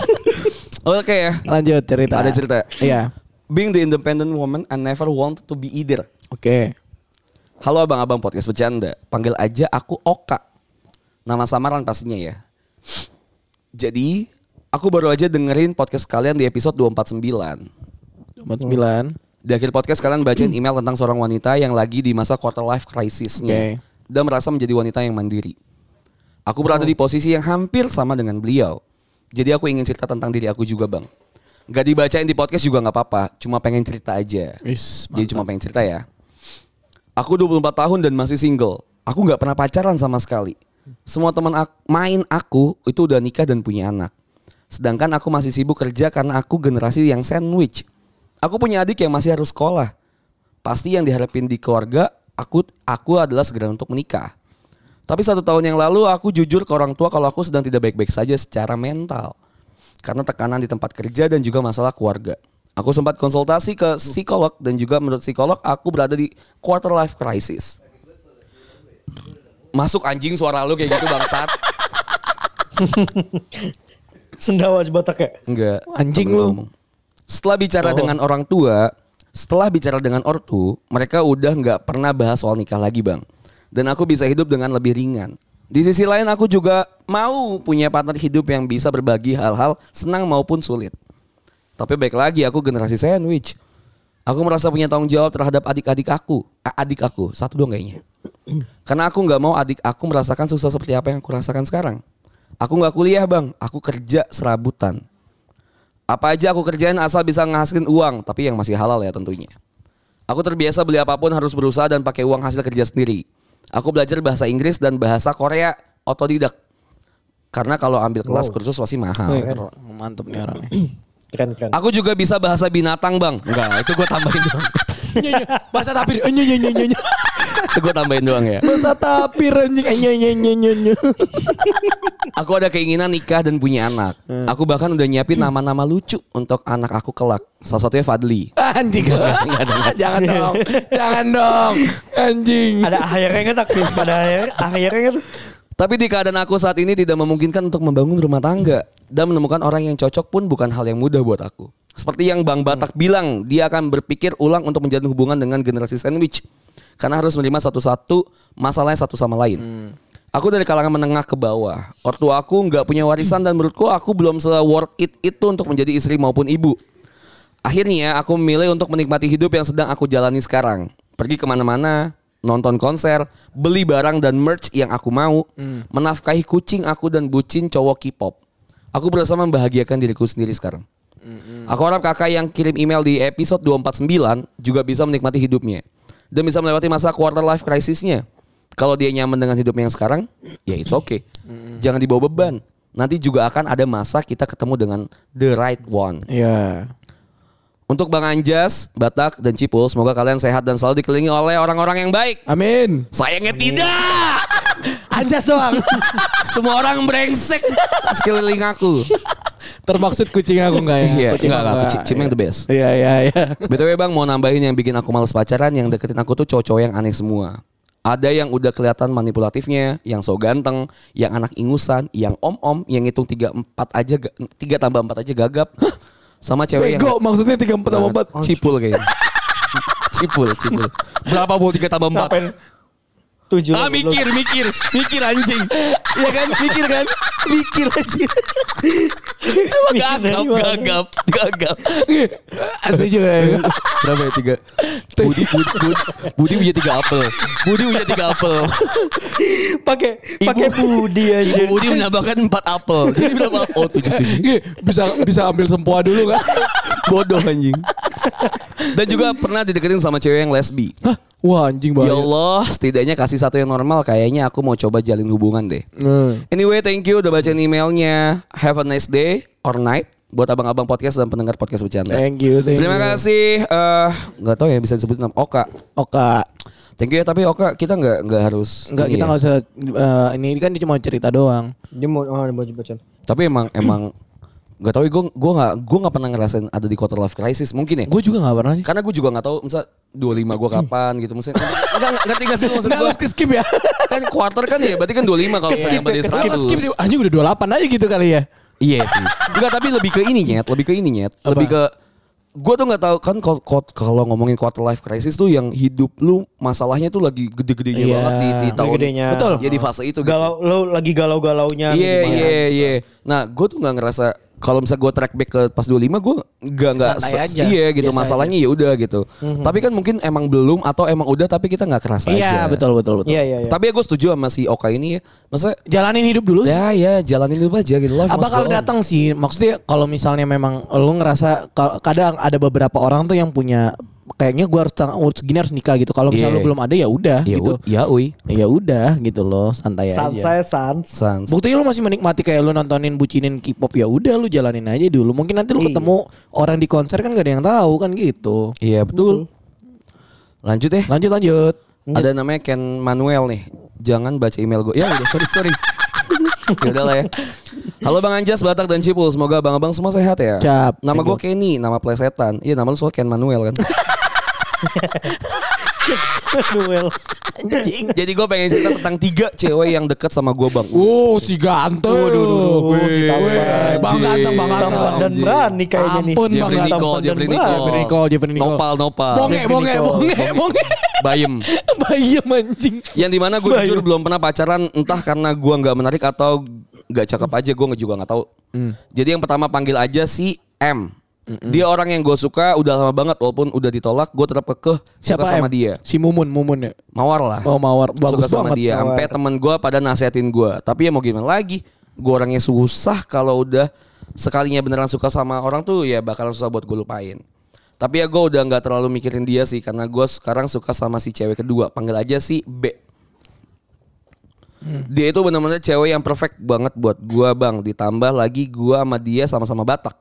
D: Oke ya.
B: Lanjut cerita.
D: Ada cerita.
B: Iya.
D: Being the independent woman, I never wanted to be either.
B: Oke.
D: Halo abang-abang podcast bercanda, panggil aja aku Oka. Nama samaran pastinya ya. Jadi, aku baru aja dengerin podcast kalian di episode 249.
B: 29.
D: Di akhir podcast kalian bacain email tentang seorang wanita yang lagi di masa quarter life crisisnya
B: Oke.
D: dan merasa menjadi wanita yang mandiri. Aku berada di posisi yang hampir sama dengan beliau. Jadi aku ingin cerita tentang diri aku juga bang. Gak dibacain di podcast juga nggak apa-apa. Cuma pengen cerita aja.
B: Wis,
D: Jadi cuma pengen cerita ya. Aku 24 tahun dan masih single. Aku nggak pernah pacaran sama sekali. Semua teman ak- main aku itu udah nikah dan punya anak. Sedangkan aku masih sibuk kerja karena aku generasi yang sandwich. Aku punya adik yang masih harus sekolah. Pasti yang diharapin di keluarga aku aku adalah segera untuk menikah. Tapi satu tahun yang lalu aku jujur ke orang tua kalau aku sedang tidak baik-baik saja secara mental. Karena tekanan di tempat kerja dan juga masalah keluarga. Aku sempat konsultasi ke psikolog dan juga menurut psikolog aku berada di quarter life crisis. Masuk anjing suara lu kayak gitu bangsat.
C: Sendawa sebatak ya.
D: Enggak.
B: Anjing
D: temen
B: lu.
D: ngomong. Setelah bicara
C: Oh.
D: dengan orang tua, setelah bicara dengan ortu, mereka udah nggak pernah bahas soal nikah lagi bang. Dan aku bisa hidup dengan lebih ringan. Di sisi lain aku juga mau punya partner hidup yang bisa berbagi hal-hal senang maupun sulit. Tapi baik lagi aku generasi sandwich. Aku merasa punya tanggung jawab terhadap adik-adik aku. A- Adik aku, satu doang kayaknya. Karena aku nggak mau adik aku merasakan susah seperti apa yang aku rasakan sekarang. Aku nggak kuliah bang, aku kerja serabutan. Apa aja aku kerjain asal bisa ngehasilin uang, tapi yang masih halal ya tentunya. Aku terbiasa beli apapun harus berusaha dan pakai uang hasil kerja sendiri. Aku belajar bahasa Inggris dan bahasa Korea otodidak. Karena kalau ambil kelas kursus pasti mahal.
B: Wih, keren. mantep nih orangnya.
C: Keren keren.
D: Aku juga bisa bahasa binatang bang. Enggak, itu gue tambahin doang.
B: Nyonya, bahasa tapir. Eh, Nyonya nyonya nyonya.
D: itu gue tambahin doang ya.
B: Bahasa tapir anjing. Eh, Nyonya nyonya nyonya.
D: Aku ada keinginan nikah dan punya anak. Aku bahkan udah nyiapin nama-nama lucu untuk anak aku kelak. Salah satunya Fadli.
B: Anjing. Jangan dong. Jangan dong. Anjing.
C: Ada akhirnya nggak tak? Ada akhir- akhirnya nggak tuh?
D: Tapi di keadaan aku saat ini tidak memungkinkan untuk membangun rumah tangga dan menemukan orang yang cocok pun bukan hal yang mudah buat aku. Seperti yang Bang Batak bilang, dia akan berpikir ulang untuk menjalin hubungan dengan generasi sandwich karena harus menerima satu-satu masalahnya satu sama lain. Aku dari kalangan menengah ke bawah. Ortu aku nggak punya warisan dan menurutku aku belum se worth it itu untuk menjadi istri maupun ibu. Akhirnya ya, aku memilih untuk menikmati hidup yang sedang aku jalani sekarang. Pergi kemana-mana, nonton konser, beli barang dan merch yang aku mau, menafkahi kucing aku dan bucin cowok K-pop. Aku berasa membahagiakan diriku sendiri sekarang. Aku harap kakak yang kirim email di episode 249 juga bisa menikmati hidupnya. Dan bisa melewati masa quarter life crisisnya. Kalau dia nyaman dengan hidupnya yang sekarang, ya it's okay. Jangan dibawa beban. Nanti juga akan ada masa kita ketemu dengan the right one.
B: Iya.
D: Untuk Bang Anjas, Batak, dan Cipul, semoga kalian sehat dan selalu dikelilingi oleh orang-orang yang baik.
B: Amin.
D: Sayangnya tidak.
B: Anjas doang.
D: Semua orang brengsek sekeliling aku.
B: Termaksud kucing aku enggak ya?
D: Iya,
B: Kucing
D: enggak,
B: aku
D: enggak. Kucing- kucing yang the best.
B: Iya, iya, iya.
D: BTW Bang, mau nambahin yang bikin aku males pacaran, yang deketin aku tuh cowok-cowok yang aneh semua. Ada yang udah kelihatan manipulatifnya, yang so ganteng, yang anak ingusan, yang om-om, yang hitung 3 4 aja ga- tiga tambah 4 aja gagap. Sama cewek yang
B: Bego maksudnya 3 4 tambah 4.
D: Cipul kayaknya. Cipul, cipul. Berapa bu 3 tambah 4?
C: Ngapain? Tujuh.
D: Ah
C: belum.
D: mikir, mikir, mikir anjing. Iya kan, mikir kan, mikir anjing. Emang
C: Mikir dari
D: gagap,
C: mana?
D: gagap, gagap.
B: Iya. Asli juga ya.
D: Berapa ya tiga? Budi, Budi, Budi, Budi punya tiga apel. Budi punya tiga apel.
C: Pakai pakai
D: Ibu-
C: budi aja.
D: Ibu Budi menambahkan empat apel. Jadi berapa? Iya. Oh tujuh tujuh.
B: Nggih, Iya. bisa bisa ambil sempoa dulu kan?
D: Bodoh anjing. Dan juga pernah dideketin sama cewek yang lesbi.
B: Hah? Wah, anjing
D: Ya
B: bahaya.
D: Allah, setidaknya kasih satu yang normal. Kayaknya aku mau coba jalin hubungan deh.
B: Nah.
D: Anyway, thank you udah bacain emailnya. Have a nice day or night buat abang-abang podcast dan pendengar podcast bercanda.
B: Thank you, thank
D: Terima
B: you.
D: kasih. eh, Nggak tahu ya bisa disebutin nama Oka.
B: Oka.
D: Thank you ya, tapi Oka kita nggak nggak harus.
B: Enggak
D: ini
B: kita
D: ya.
B: enggak usah eh, ini kan cuma cerita doang.
C: Dia mau oh, dia mau baca.
D: Tapi emang emang Gak tau, gue gue nggak gue nggak pernah ngerasain ada di quarter life crisis mungkin ya.
B: Gue juga gak pernah.
D: Karena gue juga nggak tahu, misal 25 gue kapan gitu, maksudnya nggak nggak tiga sih maksud
B: Nggak
D: gue.
B: harus ke skip ya.
D: Kan quarter kan ya, berarti kan 25 kalau
C: Keskip ya,
D: yang berarti
C: keskip.
B: Skip, skip. di-
D: 100.
B: Anjing udah 28 aja gitu kali ya.
D: Iya sih. Enggak tapi lebih ke ini nyet, lebih ke ini nyet,
B: Apa?
D: lebih ke gue tuh nggak tahu kan kalau- kalau- kalau ngomongin quarter life crisis tuh yang hidup lu masalahnya tuh lagi gede-gedenya
B: Iya.
D: banget di, di tahun
C: Gede-gedenya.
B: Betul.
D: ya di fase itu gitu.
C: galau lo lagi galau-galaunya
D: Iya
C: gitu.
D: iya iya. Nah gue tuh nggak ngerasa kalau misalnya gue track back ke pas 25 gue nggak nggak
B: Santai aja.
D: se- iya gitu
B: Biasa
D: masalahnya ya udah gitu. Tapi kan mungkin emang belum atau emang udah tapi kita nggak kerasa aja.
B: Iya betul betul betul.
C: Iya iya iya.
D: Tapi ya gue setuju sama si Oka ini ya. Maksudnya
B: Jalanin hidup dulu.
D: ya ya jalanin dulu aja gitu. Life
B: Ah,
D: must
B: bakal
D: go on.
B: datang sih. Maksudnya kalau misalnya memang lu ngerasa kal- kadang ada beberapa orang tuh yang punya kayaknya gua harus tang- urus gini harus nikah gitu. Kalau misalnya
D: Iya.
B: lu belum ada ya udah
D: Ya,
B: gitu.
D: u- ya uy.
B: Ya udah gitu loh,
D: Iya,
B: santai aja.
C: Santai sans.
D: Sans.
B: Buktinya lu masih menikmati kayak lu nontonin bucinin K-pop ya udah lu jalanin aja dulu. Mungkin nanti lu
C: Iya.
B: ketemu orang di konser kan gak ada yang tahu kan gitu.
D: Iya betul. Lanjut deh.
B: Lanjut lanjut.
D: Ada namanya Ken Manuel nih. Jangan baca email gue. Ya udah sorry sorry. ya udah lah ya. Halo Bang Anjas, Batak dan Cipul. Semoga abang-abang semua sehat ya.
B: Cap.
D: Nama gue Kenny, nama plesetan. Iya nama lu soal Ken Manuel kan.
C: Duel.
B: Anjing.
D: Jadi gue pengen cerita tentang tiga cewek yang deket sama gue bang.
B: Oh si ganteng.
C: Waduh, waduh, waduh, si
D: Weh,
C: tampan.
B: Bang ganteng, bang ganteng.
C: Tampan dan
D: Anjing.
C: berani kayaknya nih.
B: Ampun,
D: Jeffrey
B: Bang,
D: Nicole,
C: tampan
D: Jeffrey
C: dan
D: Nicole.
C: berat.
B: Jeffrey Nicole, Jeffrey Nicole.
D: Nopal, Nopal.
B: Bonge, bonge, bonge, bonge.
D: Bayem.
B: Bayem anjing.
D: Yang dimana gue
C: Bayem.
D: jujur belum pernah pacaran entah karena gue nggak menarik atau nggak cakep aja gue juga nggak tahu. Jadi yang pertama panggil aja si M. Dia orang yang gue suka udah lama banget walaupun udah ditolak gue tetap kekeh suka
B: Siapa
D: sama
B: Em?
D: dia.
B: Si Mumun, Mumun ya.
D: Mawar lah.
B: Oh, Mawar. Bagus
D: suka sama
B: banget.
D: dia.
C: Mawar.
D: Sampai temen gue pada nasehatin gue. Tapi ya mau gimana lagi. Gue orangnya susah kalau udah sekalinya beneran suka sama orang tuh ya bakalan susah buat gue lupain. Tapi ya gue udah nggak terlalu mikirin dia sih karena gue sekarang suka sama si cewek kedua. Panggil aja si B.
B: Hmm.
D: Dia itu bener-bener cewek yang perfect banget buat gue bang. Ditambah lagi gue sama dia sama-sama Batak.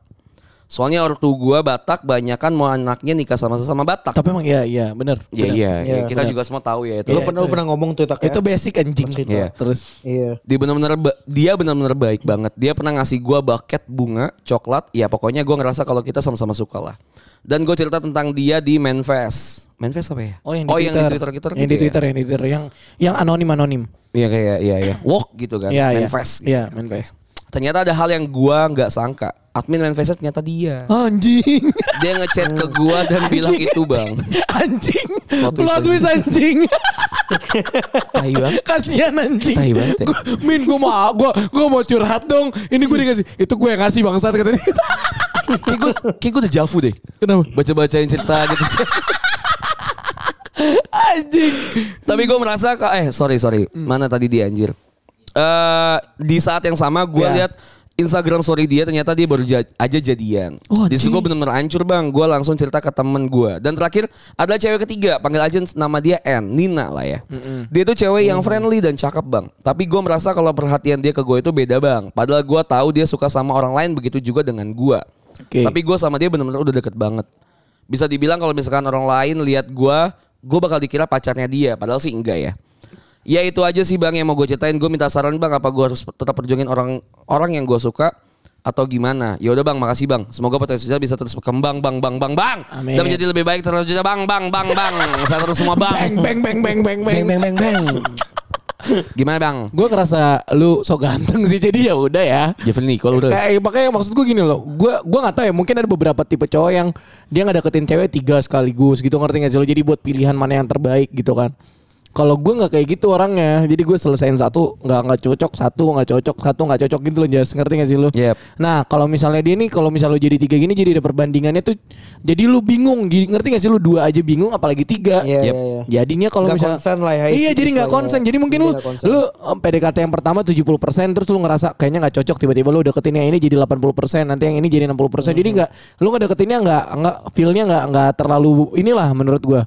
D: Soalnya ortu gue Batak banyak kan mau anaknya nikah sama sama Batak.
B: Tapi emang iya, iya, bener.
D: Iya
B: Bener.
D: iya.
C: Iya,
D: iya. Kita
B: bener.
D: juga semua tahu ya
B: Iya,
D: itu.
C: Lu pernah lu pernah ngomong tuh tak ya?
B: Itu basic anjing.
C: Masih itu.
D: Iya.
B: Terus.
C: Iya.
D: dia benar-benar ba- dia benar-benar baik banget. Dia pernah ngasih gua bucket bunga, coklat. Ya pokoknya gua ngerasa kalau kita sama-sama suka lah. Dan gue cerita tentang dia di Manfest. Manfest apa ya?
B: Oh yang di
D: oh,
B: Twitter.
D: yang di Twitter kita.
B: Yang di Twitter, yang di Twitter. Yang, yang anonim-anonim.
D: Iya kayak iya iya. Walk gitu kan.
B: Iya, iya.
D: Manfest. gitu.
B: Iya, Manfest.
D: Ternyata ada hal yang gua nggak sangka. Admin Manfest ternyata dia.
B: Anjing.
D: Dia ngechat ke gua dan bilang itu bang.
B: Anjing.
D: Plot twist
B: Plot twist anjing.
D: Tai banget.
B: Kasihan anjing.
D: Tai banget ya.
B: Gua- Min gue mau gua gua mau curhat dong. Ini gue dikasih. Itu gue yang ngasih bangsat katanya.
D: Kayak gue kayak gue udah javu deh.
B: Kenapa?
D: Baca-bacain cerita gitu.
B: Anjing. Hmm.
D: Tapi gue merasa ka- eh sorry sorry mana tadi dia anjir. Eh di saat yang sama gue
B: Ya.
D: lihat Instagram story dia ternyata dia baru ja- aja jadian.
B: Oh,
D: Di situ
B: anjing.
D: gue bener-bener hancur bang. Gue langsung cerita ke temen gue. Dan terakhir ada cewek ketiga panggil aja nama dia N Nina lah ya. Dia tuh cewek yang friendly dan cakep bang. Tapi gue merasa kalau perhatian dia ke gue itu beda bang. Padahal gue tahu dia suka sama orang lain begitu juga dengan gue.
B: Oke.
D: Tapi gue sama dia bener-bener udah deket banget. Bisa dibilang kalau misalkan orang lain lihat gue, gue bakal dikira pacarnya dia. Padahal sih enggak ya. Ya itu aja sih bang yang mau gue ceritain. Gue minta saran bang apa gue harus tetap perjuangin orang orang yang gue suka atau gimana? Ya udah bang, makasih bang. Semoga potensi kita bisa terus berkembang bang bang bang bang.
B: Amin.
D: Dan menjadi lebih baik terus bang bang bang bang. Saya terus semua
B: Bang, bang,
D: bang.
B: bang, bang, bang, bang.
D: Bang bang bang bang. Gimana bang?
B: Gue ngerasa lu so ganteng sih jadi ya udah ya.
D: Jeffrey Nicole udah.
B: Kayak makanya maksud gue gini loh. Gue gua nggak tahu ya, mungkin ada beberapa tipe cowok yang dia nggak deketin cewek tiga sekaligus gitu ngerti gak sih lo? Jadi buat pilihan mana yang terbaik gitu kan. Kalau gue nggak kayak gitu orangnya, jadi gue selesain satu nggak nggak cocok, satu nggak cocok, satu nggak cocok gitu loh, jas ngerti gak sih lo?
D: Yep.
B: Nah kalau misalnya dia nih, kalau misalnya lo jadi tiga gini, jadi ada perbandingannya tuh, jadi lu bingung, Gi- ngerti gak sih lu dua aja bingung, apalagi tiga.
C: Iya,
D: Yep.
C: iya, iya.
B: Jadinya kalau
C: Nggak
B: misalnya
C: konsen lah ya,
B: Iya,
C: istilahnya.
B: jadi nggak konsen. Jadi mungkin lu
C: Nggak konsen.
B: lu eh, em, PDKT yang pertama 70% terus lu ngerasa kayaknya nggak cocok tiba-tiba lu deketin yang ini jadi 80%, nanti yang ini jadi 60%. Jadi nggak lu nggak deketinnya nggak nggak feel-nya nggak nggak terlalu inilah menurut gua.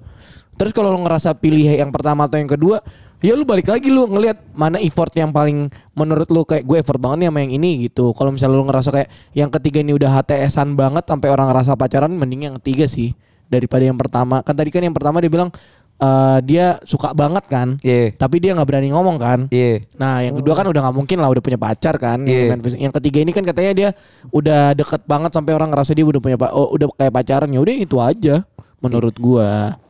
B: Terus kalau lu ngerasa pilih yang pertama atau yang kedua, ya lu balik lagi lu ngelihat mana effort yang paling menurut lu kayak gue effort banget nih sama yang ini gitu. Kalau misalnya lu ngerasa kayak yang ketiga ini udah HTS-an banget sampai orang ngerasa pacaran mending yang ketiga sih daripada yang pertama. Kan tadi kan yang pertama dia bilang eh, dia suka banget kan.
D: Iya.
B: Tapi dia nggak berani ngomong kan.
D: Iya.
B: Nah, yang kedua kan udah nggak mungkin lah udah punya pacar kan.
D: Iya.
B: Yang main fisik. Yang ketiga ini kan katanya dia udah deket banget sampai orang ngerasa dia udah punya pa- oh, udah kayak pacaran. Ya udah itu aja menurut gua.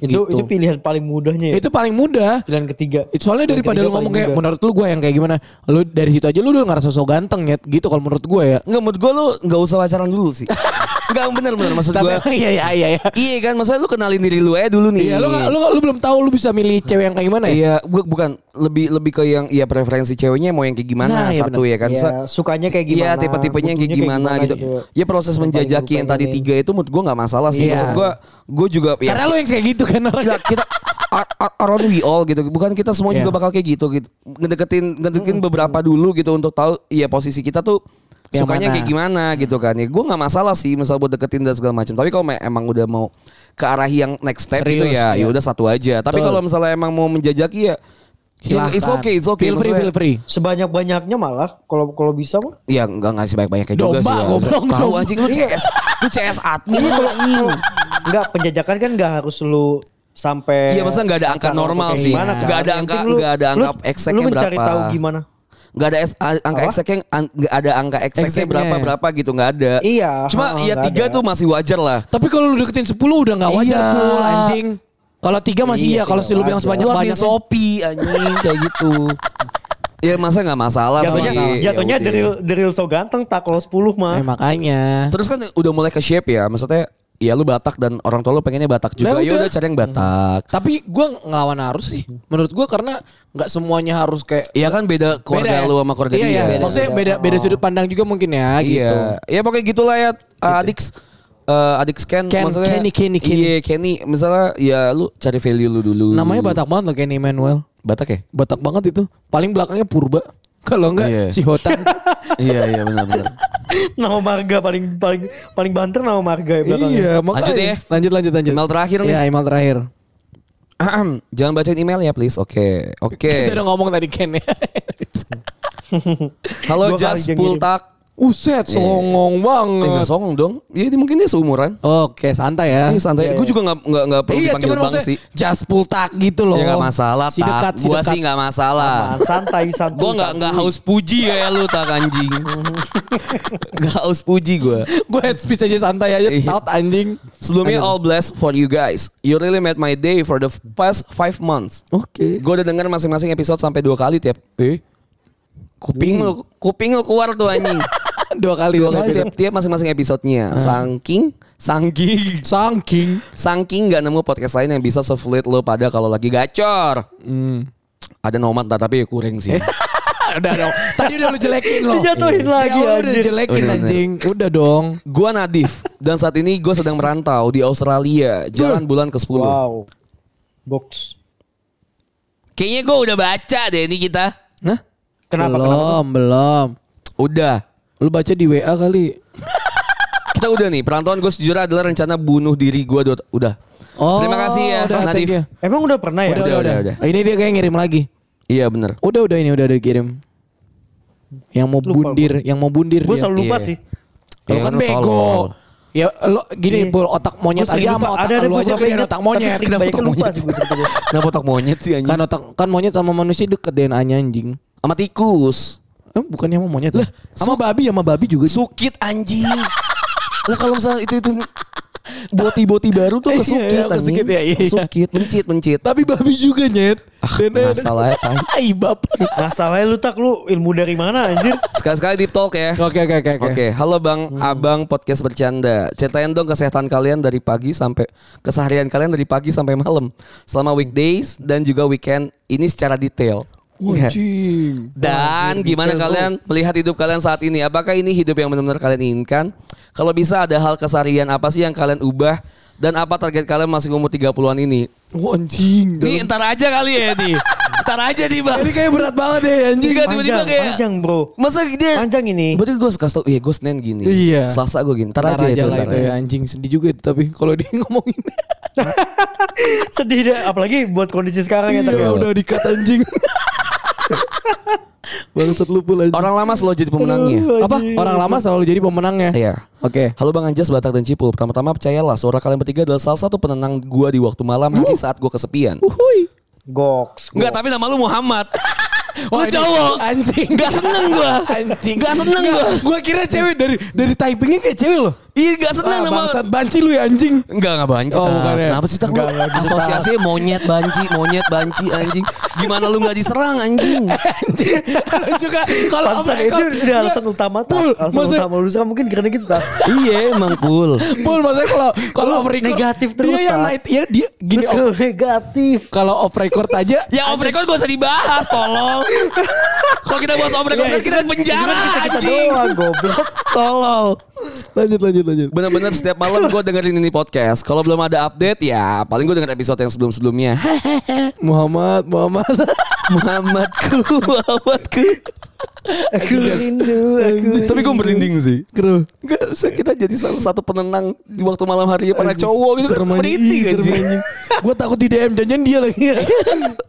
C: Itu
B: Gitu.
C: itu pilihan paling mudahnya ya.
B: Itu paling mudah.
C: pilihan ketiga.
B: Itu soalnya
C: Yang
B: daripada
C: ketiga
B: lu ngomong
C: paling
B: kayak
C: mudah.
B: menurut lu gua yang kayak gimana? Lu dari situ aja lu udah ngerasa so ganteng ya gitu kalau menurut gua ya.
D: Enggak menurut gue lu nggak usah pacaran dulu sih. Enggak bener-bener maksud gue.
B: Tapi iya iya iya iya.
D: Iya kan, maksudnya lu kenalin diri lu aja dulu nih.
B: Iya, lu nggak- lu nggak- lu belum tahu lu bisa milih cewek yang kayak gimana ya?
D: Iya, gua bukan lebih lebih ke yang ya preferensi ceweknya mau yang kayak
B: Nah,
D: gimana
B: iya
D: satu ya kan.
C: Iya,
D: Sa-
C: sukanya kayak gimana?
D: Iya, tipe-tipenya yang kayak
C: butuhnya
D: gimana, gitu. Ya proses
C: Yang paling
D: menjajaki yang
C: gua
D: tadi
C: pengenin.
D: tiga itu menurut gua nggak masalah sih.
B: Iya.
D: Maksud gua gua juga ya,
B: Karena lu yang kayak gitu kan orang.
D: kita, kita are- are- aren't we all gitu. Bukan kita semua
B: Iya.
D: juga bakal kayak gitu gitu. Ngedeketin ngedeketin beberapa dulu gitu untuk tahu ya posisi kita tuh
B: Yang
D: sukanya
B: mana?
D: kayak gimana gitu kan. Ya gua nggak masalah sih misal buat deketin dan segala macam. Tapi kalau me- emang udah mau ke arah yang next step gitu
B: Serius,
D: ya,
B: iya.
D: ya udah satu aja. Tapi
B: Betul.
D: kalau misalnya emang mau menjajaki ya
B: Silahkan.
D: It's okay, it's okay.
B: Feel free,
D: Maksudnya-
B: feel free.
C: Sebanyak-banyaknya malah kalau kalau bisa mah
D: Ya enggak ngasih banyak-banyaknya
B: Domba,
D: juga sih. ya.
B: goblok,
D: Tahu
B: domba.
D: anjing lu CS. Lu CS admin
C: Iya
D: lu
C: kalau
D: anjing.
C: enggak penjajakan kan enggak harus lu sampai
D: Iya, masa nggak ada angka
C: pacaran atau
D: normal
C: kayak
D: sih.
C: gimana, kan?
D: Nggak ada
C: Yang
D: angka-
C: penting lu-
D: nggak ada angka
C: lu-
D: exact-nya
C: Lu mencari
D: berapa.
C: tahu gimana?
D: Enggak ada S- a- angka
C: Apa?
D: exactnya yang an- nggak ada angka exactnya
B: Exactnya.
D: berapa berapa gitu nggak ada.
C: Iya,
D: Cuma
C: ha,
D: ya
C: nggak
D: tiga
C: ada.
D: tuh masih wajar lah.
B: Tapi kalau lu deketin 10 udah nggak wajar
D: Iya.
B: Pul, anjing. Kalau tiga masih
C: Iya
B: iya,
C: sih,
B: kalau lu
C: nggak
B: bilang
C: wajar.
B: sebanyak
D: Lu admin
B: banyak
D: Shopee anjing kayak gitu. Ya masa nggak masalah
C: Jatuhnya
D: sih. Ya
C: jatuhnya
D: udah.
C: dari dari so ganteng tak kalau 10
B: Eh
C: mah.
B: makanya.
D: Terus kan udah mulai ke shape ya. Maksudnya ya lu Batak dan orang tua lu pengennya Batak
B: Lah,
D: juga. Ya
B: udah.
D: udah cari yang Batak.
B: Tapi gua ngelawan arus sih. Menurut gua karena nggak semuanya harus kayak
D: Iya kan beda keluarga
B: ya?
D: lu sama keluarga
B: iya,
D: dia.
B: Iya, maksudnya beda beda sudut pandang juga mungkin ya gitu.
D: Iya. Ya pokoknya gitulah ya adik eh, adik scan
B: Ken-
D: maksudnya
B: Kenny, Kenny, Kenny.
D: Iya, Kenny misalnya ya lu cari value lu dulu.
B: Namanya Batak banget loh Kenny Manuel.
D: Batak ya?
B: Batak banget itu. Paling belakangnya Purba. Kalau enggak
D: Iya.
B: si Hotan.
D: iya, iya benar benar.
C: Nama marga paling paling paling banter nama marga ya belakangnya.
B: iya, makanya.
D: Lanjut ya.
B: Lanjut lanjut lanjut.
D: Email terakhir nih.
B: Iya, email terakhir.
D: Ahem, Jangan bacain email ya please. Oke. Oke.
B: Kita udah ngomong tadi Ken ya.
D: Halo
C: Dua kali
D: Jas
C: dia ngirim.
D: Pultak. Iya,
B: Uset, songong
D: Eh
B: banget.
D: nggak songong dong. Ya dia mungkin dia seumuran.
B: Oke, santai ya.
D: Ini
C: Iya,
D: santai.
C: iya.
D: Gue juga nggak nggak nggak perlu
B: Iya,
D: dipanggil
B: cuman
D: bang
B: maksudnya
D: sih.
B: jas pultak gitu loh.
D: Ya nggak masalah.
B: Si dekat, si
D: Gue
B: dekat.
D: sih nggak masalah.
C: Apaan, santai santai.
D: Gue nggak nggak haus puji ya lu tak anjing. Nggak haus puji gue.
B: Gue head speech aja santai aja.
D: Iya.
B: Taut anjing.
D: Sebelumnya all blessed for you guys. You really made my day for the f- past five months.
B: Oke.
D: Gue udah denger masing-masing episode sampai dua kali tiap. Eh? Kuping lu, kuping lu keluar tuh anjing.
B: Dua kali.
D: Hmm.
B: gitu.
D: dua kali tiap Ah. tiap masing-masing episodenya. Sangking, sangking,
B: Sangking.
D: sangking nggak nemu podcast lain yang bisa sefluid lo pada kalau lagi gacor. Hmm. Ada nomad nah, tapi ya kurang sih.
B: udah dong. Tadi udah lu jelekin loh.
C: Dijatuhin
B: Di
C: lagi,
B: awal Udah
C: anjing.
B: jelekin
D: Bener-bener.
B: anjing. Udah dong.
D: Gua Nadif dan saat ini gue sedang merantau di Australia, jalan bulan ke-10.
C: Wow. Box.
D: Kayaknya gue udah baca deh ini kita.
B: Nah.
C: Kenapa,
B: Belum, belum.
D: Udah.
B: Lu baca di WA kali.
D: Kita udah nih, perantauan gue sejujurnya adalah rencana bunuh diri gue dot- udah.
B: Oh,
D: Terima kasih ya,
B: udah,
D: Nadif.
B: thank you.
C: Emang udah pernah ya?
B: Udah, udah, udah,
D: udah.
B: Ini dia kayak ngirim lagi.
D: Iya bener.
B: Udah, udah ini udah ada kirim. Yang mau
C: Lupa
B: bundir, yang mau bundir.
C: Gue
B: dia.
C: selalu lupa
D: Iya.
C: sih.
B: Lu
D: Ya
B: kan
D: kan lu
B: bego.
D: tolol.
B: Ya lu gini pul otak monyet
C: Iya. Gua sering
B: aja sama
C: lupa.
B: otak
C: Ada- ada
B: lu aja
C: beberapa
B: gedean
C: yang
B: otak
C: tapi
B: monyet.
C: sering
B: Kenapa
C: banyak
B: otak
C: lupa
B: monyet?
C: sih gua cerita.
D: Kenapa otak monyet sih anjing?
B: Kan otak kan monyet sama manusia deket DNA-nya anjing.
D: Sama tikus.
B: Eh, bukannya sama monyet lah. Sama babi sama babi juga.
D: Sukit anjing. Lah kalau misalnya itu itu boti-boti baru tuh
B: Iya,
D: kesukit
B: iya, kesukit,
D: anjing.
B: iya, iya.
D: Sukit, mencit, mencit.
B: Tapi babi juga nyet.
D: Ah, masalahnya, tai.
B: Ai bab.
C: Nah salahnya lu tak lu ilmu dari mana anjir?
D: Sekali-sekali deep talk ya.
B: Oke oke oke
D: Oke, halo Bang Abang Podcast Bercanda. Ceritain dong kesehatan kalian dari pagi sampai keseharian kalian dari pagi sampai malam selama weekdays dan juga weekend ini secara detail. Iya.
B: Anjing.
D: Dan gimana kalian melihat hidup kalian saat ini? Apakah ini hidup yang benar-benar kalian inginkan? Kalau bisa ada hal keseharian apa sih yang kalian ubah? Dan apa target kalian masih umur 30-an ini?
B: Oh, anjing.
D: Ini ntar aja kali ya ini. ntar aja nih bang.
B: Ini kayak berat banget ya anjing.
D: Enggak tiba-tiba
C: Panjang,
D: kayak.
C: panjang bro.
D: Masa dia.
C: Panjang ini.
D: Berarti gue kasih tau. Iya gue Senin gini.
B: Iya.
D: Selasa gue gini. Ntar,
B: Ntar
D: aja, itu.
B: lah
D: ntar
B: itu
D: aja.
B: ya anjing sedih juga itu tapi kalau dia ngomongin
C: Sedih deh apalagi buat kondisi sekarang ya.
B: Iya,
C: Tak, ya.
B: udah dikat anjing. Bangsat lu pula.
D: Orang lama selalu jadi pemenangnya.
B: Iya. Apa? Orang lama selalu jadi pemenangnya.
D: Iya.
B: Oke.
D: Halo Bang Anjas, Batak dan Cipul. Pertama-tama percayalah suara kalian bertiga adalah salah satu penenang gua di waktu malam hari
B: Uh.
D: saat gua kesepian.
B: Uhuy.
C: Goks.
D: Enggak, tapi nama lu Muhammad.
B: Wah, Oh,
D: lu
B: ini-
D: cowok.
B: Anjing.
D: Gak seneng gua.
B: Anjing.
D: Gak seneng
B: Nggak,
D: gua.
B: Gua kira cewek dari dari typingnya kayak cewek loh.
D: Ih, gak seneng
B: Wah,
D: nama.
B: Ah, bangsat banci lu ya anjing.
D: Enggak, enggak banci.
B: Oh,
D: Oh,
B: bukan ya.
D: Kenapa sih tak lu? Asosiasinya monyet banci, monyet banci anjing. Gimana lu gak diserang anjing?
B: Anjing. Lu juga kalau
C: Alasan
B: off
C: itu
B: record-
C: udah alasan utama tak.
B: Pul,
C: Alasan
B: kan? Iya. maksudnya-
C: utama lu Zah, mungkin karena gitu tak.
D: iya, emang cool.
B: Pul maksudnya kalau kalau off record-
C: negatif terus,
B: Dia yang
C: Sa.
B: night ya dia gini off-
C: Betul negatif.
B: kalau off record aja
D: Ya off record gak usah dibahas, tolong. Kalau kita bahas off record,
C: Ya,
D: kan kita penjara
C: Kita
D: anjing.
C: doang goblok.
D: Tolol.
B: lanjut lanjut lanjut.
D: Bener-bener setiap malam gue dengerin ini podcast. Kalau belum ada update, ya paling gue denger episode yang sebelum-sebelumnya.
B: Muhammad Muhammad.
D: Muhammadku, Muhammadku.
C: Aku rindu, aku
D: Tapi gue merinding sih.
B: Kru.
D: Gak bisa kita jadi salah satu penenang di waktu malam hari para cowok gitu.
B: Serem anjing.
D: Merinding
B: Ih, serem
D: anjing.
B: anjing. Gua takut di DM janjian dia lagi.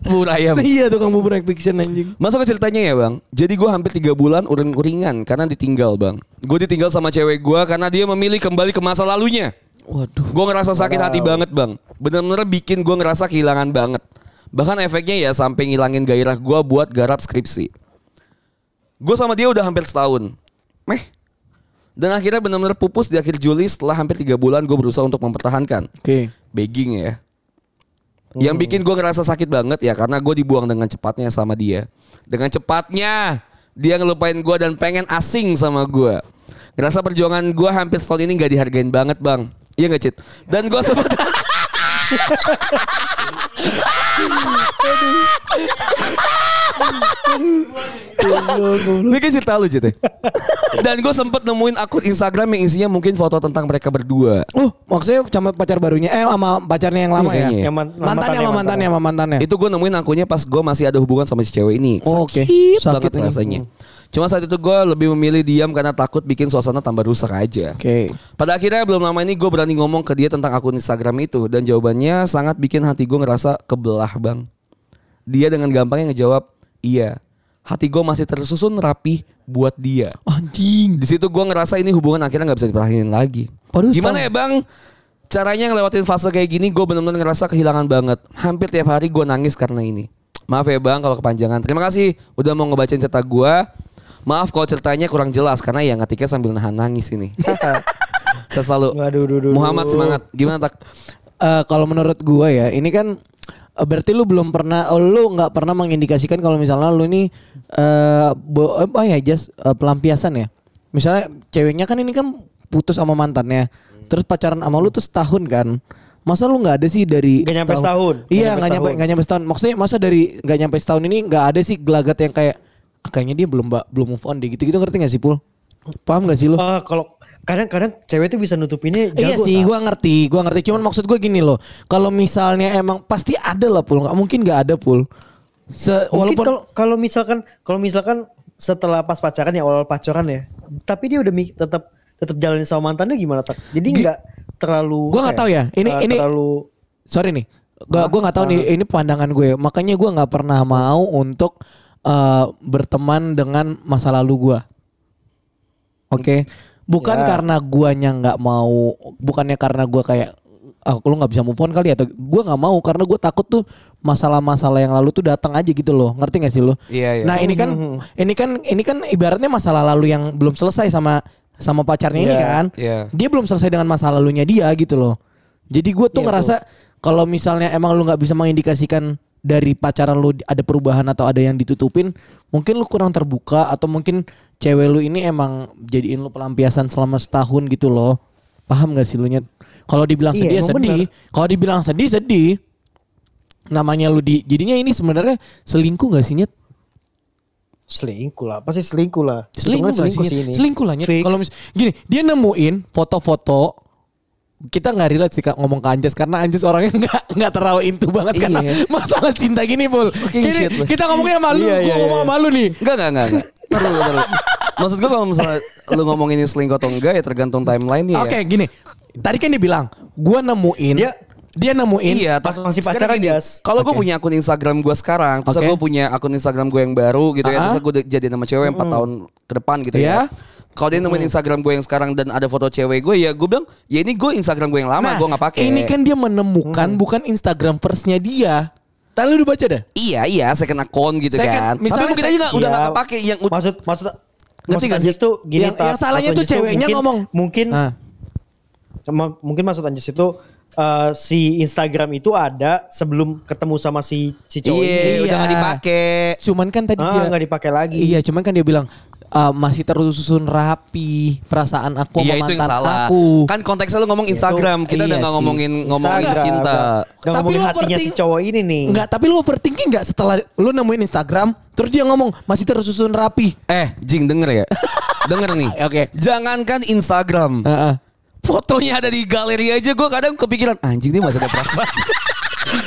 D: Bubur ayam.
B: Iya tukang bubur fiction anjing.
D: Masuk ke ceritanya ya bang Jadi gue hampir 3 bulan uring-uringan Karena ditinggal bang Gue ditinggal sama cewek gue Karena dia memilih kembali ke masa lalunya
B: Waduh.
D: Gue ngerasa sakit hati banget bang Bener-bener bikin gue ngerasa kehilangan banget Bahkan efeknya ya sampai ngilangin gairah gue buat garap skripsi Gue sama dia udah hampir setahun Meh Dan akhirnya bener-bener pupus di akhir Juli Setelah hampir 3 bulan gue berusaha untuk mempertahankan
B: Oke.
D: begging ya. Yang bikin gue ngerasa sakit banget ya karena gue dibuang dengan cepatnya sama dia. Dengan cepatnya dia ngelupain gue dan pengen asing sama gue. Ngerasa perjuangan gue hampir setahun ini gak dihargain banget bang. Iya gak Cit? Dan gue sempat Ini kan cerita lu Cit ya? Dan gue sempat nemuin akun Instagram yang isinya mungkin foto tentang mereka berdua
B: Oh, maksudnya sama pacar barunya eh sama pacarnya yang lama
D: Iya,
B: ya?
D: kayaknya.
C: Yang man-
B: Mantannya sama mantannya sama mantannya.
D: Itu gue nemuin akunya pas gue masih ada hubungan sama si cewek ini.
B: Nah. Oh, oke.
D: Sakit,
B: Sakit
D: banget
B: ini.
D: rasanya. Cuma saat itu gue lebih memilih diam karena takut bikin suasana tambah rusak aja.
B: Oke.
D: Pada akhirnya belum lama ini gue berani ngomong ke dia tentang akun Instagram itu dan jawabannya sangat bikin hati gue ngerasa kebelah bang. Dia dengan gampangnya ngejawab iya. Hati gue masih tersusun rapih buat dia.
B: Anjing.
D: Di situ gue ngerasa ini hubungan akhirnya nggak bisa dipertahankan lagi.
B: Padahal
D: Gimana
B: setahun.
D: ya bang? Caranya ngelewatin fase kayak gini gue bener-bener ngerasa kehilangan banget. Hampir tiap hari gue nangis karena ini. Maaf ya bang kalau kepanjangan. Terima kasih udah mau ngebacain cerita gue. Maaf kalau ceritanya kurang jelas karena ya ngetiknya sambil nahan nangis ini. Saya selalu
C: Waduh, duh, duh,
D: Muhammad
C: duh.
D: semangat. Gimana tak?
B: Eh, kalau menurut gua ya, ini kan eh, berarti lu belum pernah oh, lu nggak pernah mengindikasikan kalau misalnya lu ini eh bo- apa ya just eh, pelampiasan ya. Misalnya ceweknya kan ini kan putus sama mantannya. Terus pacaran sama lu tuh setahun kan. Masa lu nggak ada sih dari
C: Nggak nyampe setahun.
B: Iya, nggak
C: Nggak nyampe
B: nyampe
C: setahun.
B: nggak nyampe setahun. Maksudnya masa dari nggak nyampe setahun ini nggak ada sih gelagat yang kayak "Ah, kayaknya dia belum ba- belum move on deh gitu-gitu ngerti gak sih Pul? Paham gak sih lu?
C: Ah, kalau kadang-kadang cewek tuh bisa nutupinnya
B: Iya
C: jago.
B: sih,
C: tak?
B: gue ngerti, gue ngerti. Cuman maksud gue gini loh, kalau misalnya emang pasti ada lah pul, nggak mungkin nggak ada pul. Se-
C: Mungkin
B: walaupun
C: kalau kalau misalkan kalau misalkan setelah pas pacaran ya awal pacaran ya, tapi dia udah mi- tetap tetap jalanin sama mantannya gimana tak? Jadi
B: Gi-
C: nggak terlalu.
B: Gua nggak
C: apa
B: tahu ya, ini-
C: eh,
B: ini-
C: terlalu
B: sorry nih, gua gue nggak tahu nih. Ini pandangan gue, makanya gue nggak pernah mau untuk eh, berteman dengan masa lalu gue. Oke, bukan
C: Ya.
B: karena guanya nggak mau, bukannya karena gue kayak ah lu nggak bisa move on kali ya?" atau gue nggak mau karena gue takut tuh masalah-masalah yang lalu tuh datang aja gitu loh, ngerti gak sih lo?
D: Iya iya.
B: Nah ini kan ini kan ini kan ibaratnya masalah lalu yang belum selesai sama sama pacarnya ini
C: Iya,
B: kan.
D: iya.
B: Dia belum selesai dengan masa lalunya dia gitu loh. Jadi gue tuh
C: Iya,
B: ngerasa kalau misalnya emang lu nggak bisa mengindikasikan dari pacaran lu ada perubahan atau ada yang ditutupin, mungkin lu kurang terbuka atau mungkin cewek lu ini emang jadiin lu pelampiasan selama setahun gitu loh. Paham gak sih lu nyet? Kalau dibilang
C: Iya,
B: sedih ya
C: emang
B: sedih, kalau dibilang sedih sedih. Namanya lu di jadinya ini sebenarnya selingkuh gak sih nyet?
C: selingkuh lah, pasti selingkuh lah.
B: selingkuh
C: Hitungannya
B: gak sih?
C: ini.
B: selingkuh lah Nyet.
C: Fix.
B: kalau mis- gini dia nemuin foto-foto kita nggak relate sih Kak, ngomong ke Anjas karena Anjas orangnya nggak nggak terlalu intu banget
D: Iya.
B: karena masalah cinta gini pul Gini,
D: shit, lu.
B: kita ngomongnya sama lu
C: Iya,
B: gua
C: iya,
B: ngomong
C: iya.
B: sama lu nih
D: Enggak enggak enggak. enggak. Taruh, taruh. Maksud gue kalau misalnya lu ngomongin
C: Iya.
D: ini selingkuh atau enggak ya tergantung timeline ya.
B: oke gini tadi kan dia bilang gua nemuin
C: Dia
B: Dia nemuin
D: Iya,
C: Pas
D: tapi
C: masih
D: sekarang
C: pacaran,
D: gini,
C: Jas.
D: Kalau gue
B: Oke.
D: punya akun Instagram gue sekarang, terus
B: Oke.
D: gue punya akun Instagram gue yang baru gitu ya,
B: Ah-ah.
D: terus gue jadi nama cewek 4 tahun ke depan gitu
B: Iya.
D: ya. Kalau dia nemuin Instagram gue yang sekarang dan ada foto cewek gue, ya gue bilang, ya ini gue Instagram gue yang lama, gue nggak pakai.
B: Ini kan dia menemukan
C: Hmm.
B: bukan Instagram first-nya dia. Tadi lu udah baca dah?
D: Iya iya, second account gitu
B: Second-
D: kan.
B: misalnya
D: Tapi mungkin
B: sec-
D: aja nggak udah
C: Iya.
D: nggak kepake yang
C: maksud maksud
D: Ngerti
C: maksud
D: nggak
C: Anjas
D: sih?
C: tuh gini
B: Yang-
C: Tat.
B: yang salahnya
C: Maksud
B: tuh
C: Anjas
B: ceweknya
C: mungkin-
B: ngomong.
C: mungkin
B: Ah.
C: Ma- mungkin maksud Anjas itu eh, si Instagram itu ada sebelum ketemu sama si si cowok
D: Iya,
C: ini.
D: udah nggak dipakai.
B: Cuman kan tadi
C: Ah,
B: dia
C: nggak dipakai lagi.
B: Iya, cuman kan dia bilang "Eh, masih tersusun rapi perasaan aku
D: Iya
B: sama
D: itu yang
B: mantan
D: salah.
B: aku.
D: Kan konteksnya lu ngomong Instagram, kita
B: Iya
D: udah nggak
B: sih.
D: ngomongin ngomongin
C: Instagram.
D: cinta.
C: Nggak
B: Tapi
C: ngomongin
B: lu
C: hatinya si
B: overthink-
C: cowok ini nih.
B: Enggak, tapi lu overthinking enggak setelah lu nemuin Instagram terus dia ngomong masih tersusun rapi.
D: Eh, Jing denger ya. denger nih.
B: Oke.
D: Jangankan Instagram.
B: Heeh.
D: fotonya ada di galeri aja gue kadang kepikiran anjing dia masih ada perasaan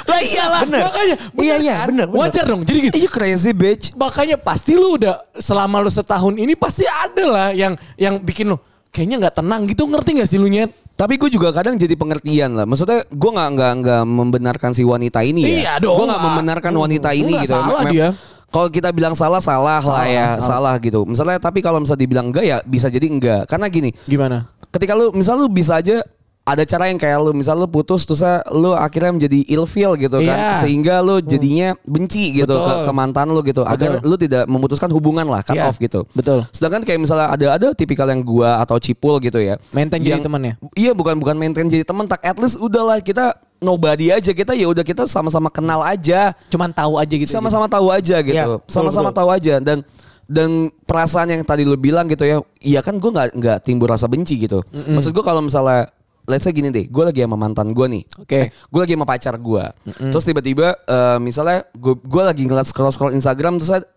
D: lah iyalah
C: Bener.
B: Makanya
C: Iya, iya,
B: kan?
C: bener, bener.
B: Wajar dong. Jadi gini,
D: you Iya, crazy bitch
B: makanya pasti lu udah selama lu setahun ini pasti ada lah yang yang bikin lu kayaknya nggak tenang gitu ngerti nggak sih lu nyet?
D: tapi gue juga kadang jadi pengertian lah maksudnya gue nggak nggak nggak membenarkan si wanita ini ya
B: Iya dong,
D: gue nggak
B: Pak.
D: membenarkan wanita
B: Hmm,
D: ini
B: nggak
D: gitu
B: salah
D: Mem-
B: dia.
D: kalau kita bilang salah salah, lah ya salah. gitu misalnya tapi kalau misalnya dibilang enggak ya bisa jadi enggak karena gini
B: Gimana?
D: ketika lu misal lu bisa aja ada cara yang kayak lu misal lu putus terus ah, lu akhirnya menjadi ilfeel gitu kan
B: Iya.
D: sehingga lu jadinya benci gitu ke,
B: Betul.
D: ke mantan lu gitu agar
B: Betul.
D: lu tidak memutuskan hubungan lah cut
B: Iya.
D: off gitu
B: Betul.
D: sedangkan kayak misalnya ada ada tipikal yang gua atau cipul gitu ya
B: Maintain jadi teman ya?
D: iya bukan bukan maintain jadi teman tak at least udahlah kita nobody aja kita ya udah kita sama-sama kenal aja
B: Cuman tahu aja gitu.
D: sama-sama tahu aja gitu
C: Iya, betul,
D: sama-sama
C: betul.
D: tahu aja dan dan perasaan yang tadi lu bilang gitu ya iya kan gue nggak nggak timbul rasa benci gitu maksud gue kalau misalnya let's say gini deh gue lagi sama mantan gue nih
B: Oke.
D: gue lagi sama pacar gue terus tiba-tiba eh, misalnya gue gue lagi ngeliat scroll scroll Instagram terus ada-